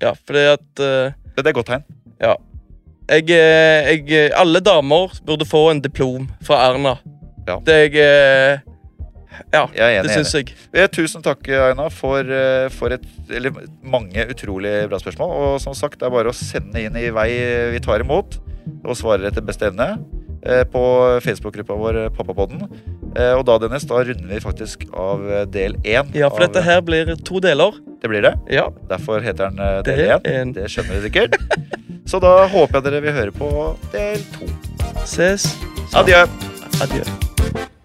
Speaker 2: ja fordi at eh,
Speaker 1: Det er et godt tegn.
Speaker 2: jeg, eh, jeg Alle damer burde få en diplom fra Erna.
Speaker 1: Ja.
Speaker 2: Det jeg eh, Ja,
Speaker 1: Jeg er
Speaker 2: det
Speaker 1: enig.
Speaker 2: syns
Speaker 1: enig.
Speaker 2: jeg.
Speaker 1: Eh, Tusen takk, Aina, for, eh, for et, eller, mange utrolig bra spørsmål. Og som sagt, det er bare å sende inn i vei vi tar imot, og svarer etter beste evne. eh, På Facebook-gruppa vår eh, Pappapodden. Eh, Og da, Dennis, da runder vi faktisk av eh, del én.
Speaker 2: Ja, for
Speaker 1: av-
Speaker 2: dette her blir to deler.
Speaker 1: Det blir det.
Speaker 2: Ja,
Speaker 1: Derfor heter den eh,
Speaker 2: Det
Speaker 1: del
Speaker 2: er
Speaker 1: én.
Speaker 2: en-
Speaker 1: Det skjønner vi sikkert. [laughs] Så da håper jeg dere vil høre på del to.
Speaker 2: ses.
Speaker 1: Adjø.
Speaker 2: Adjø.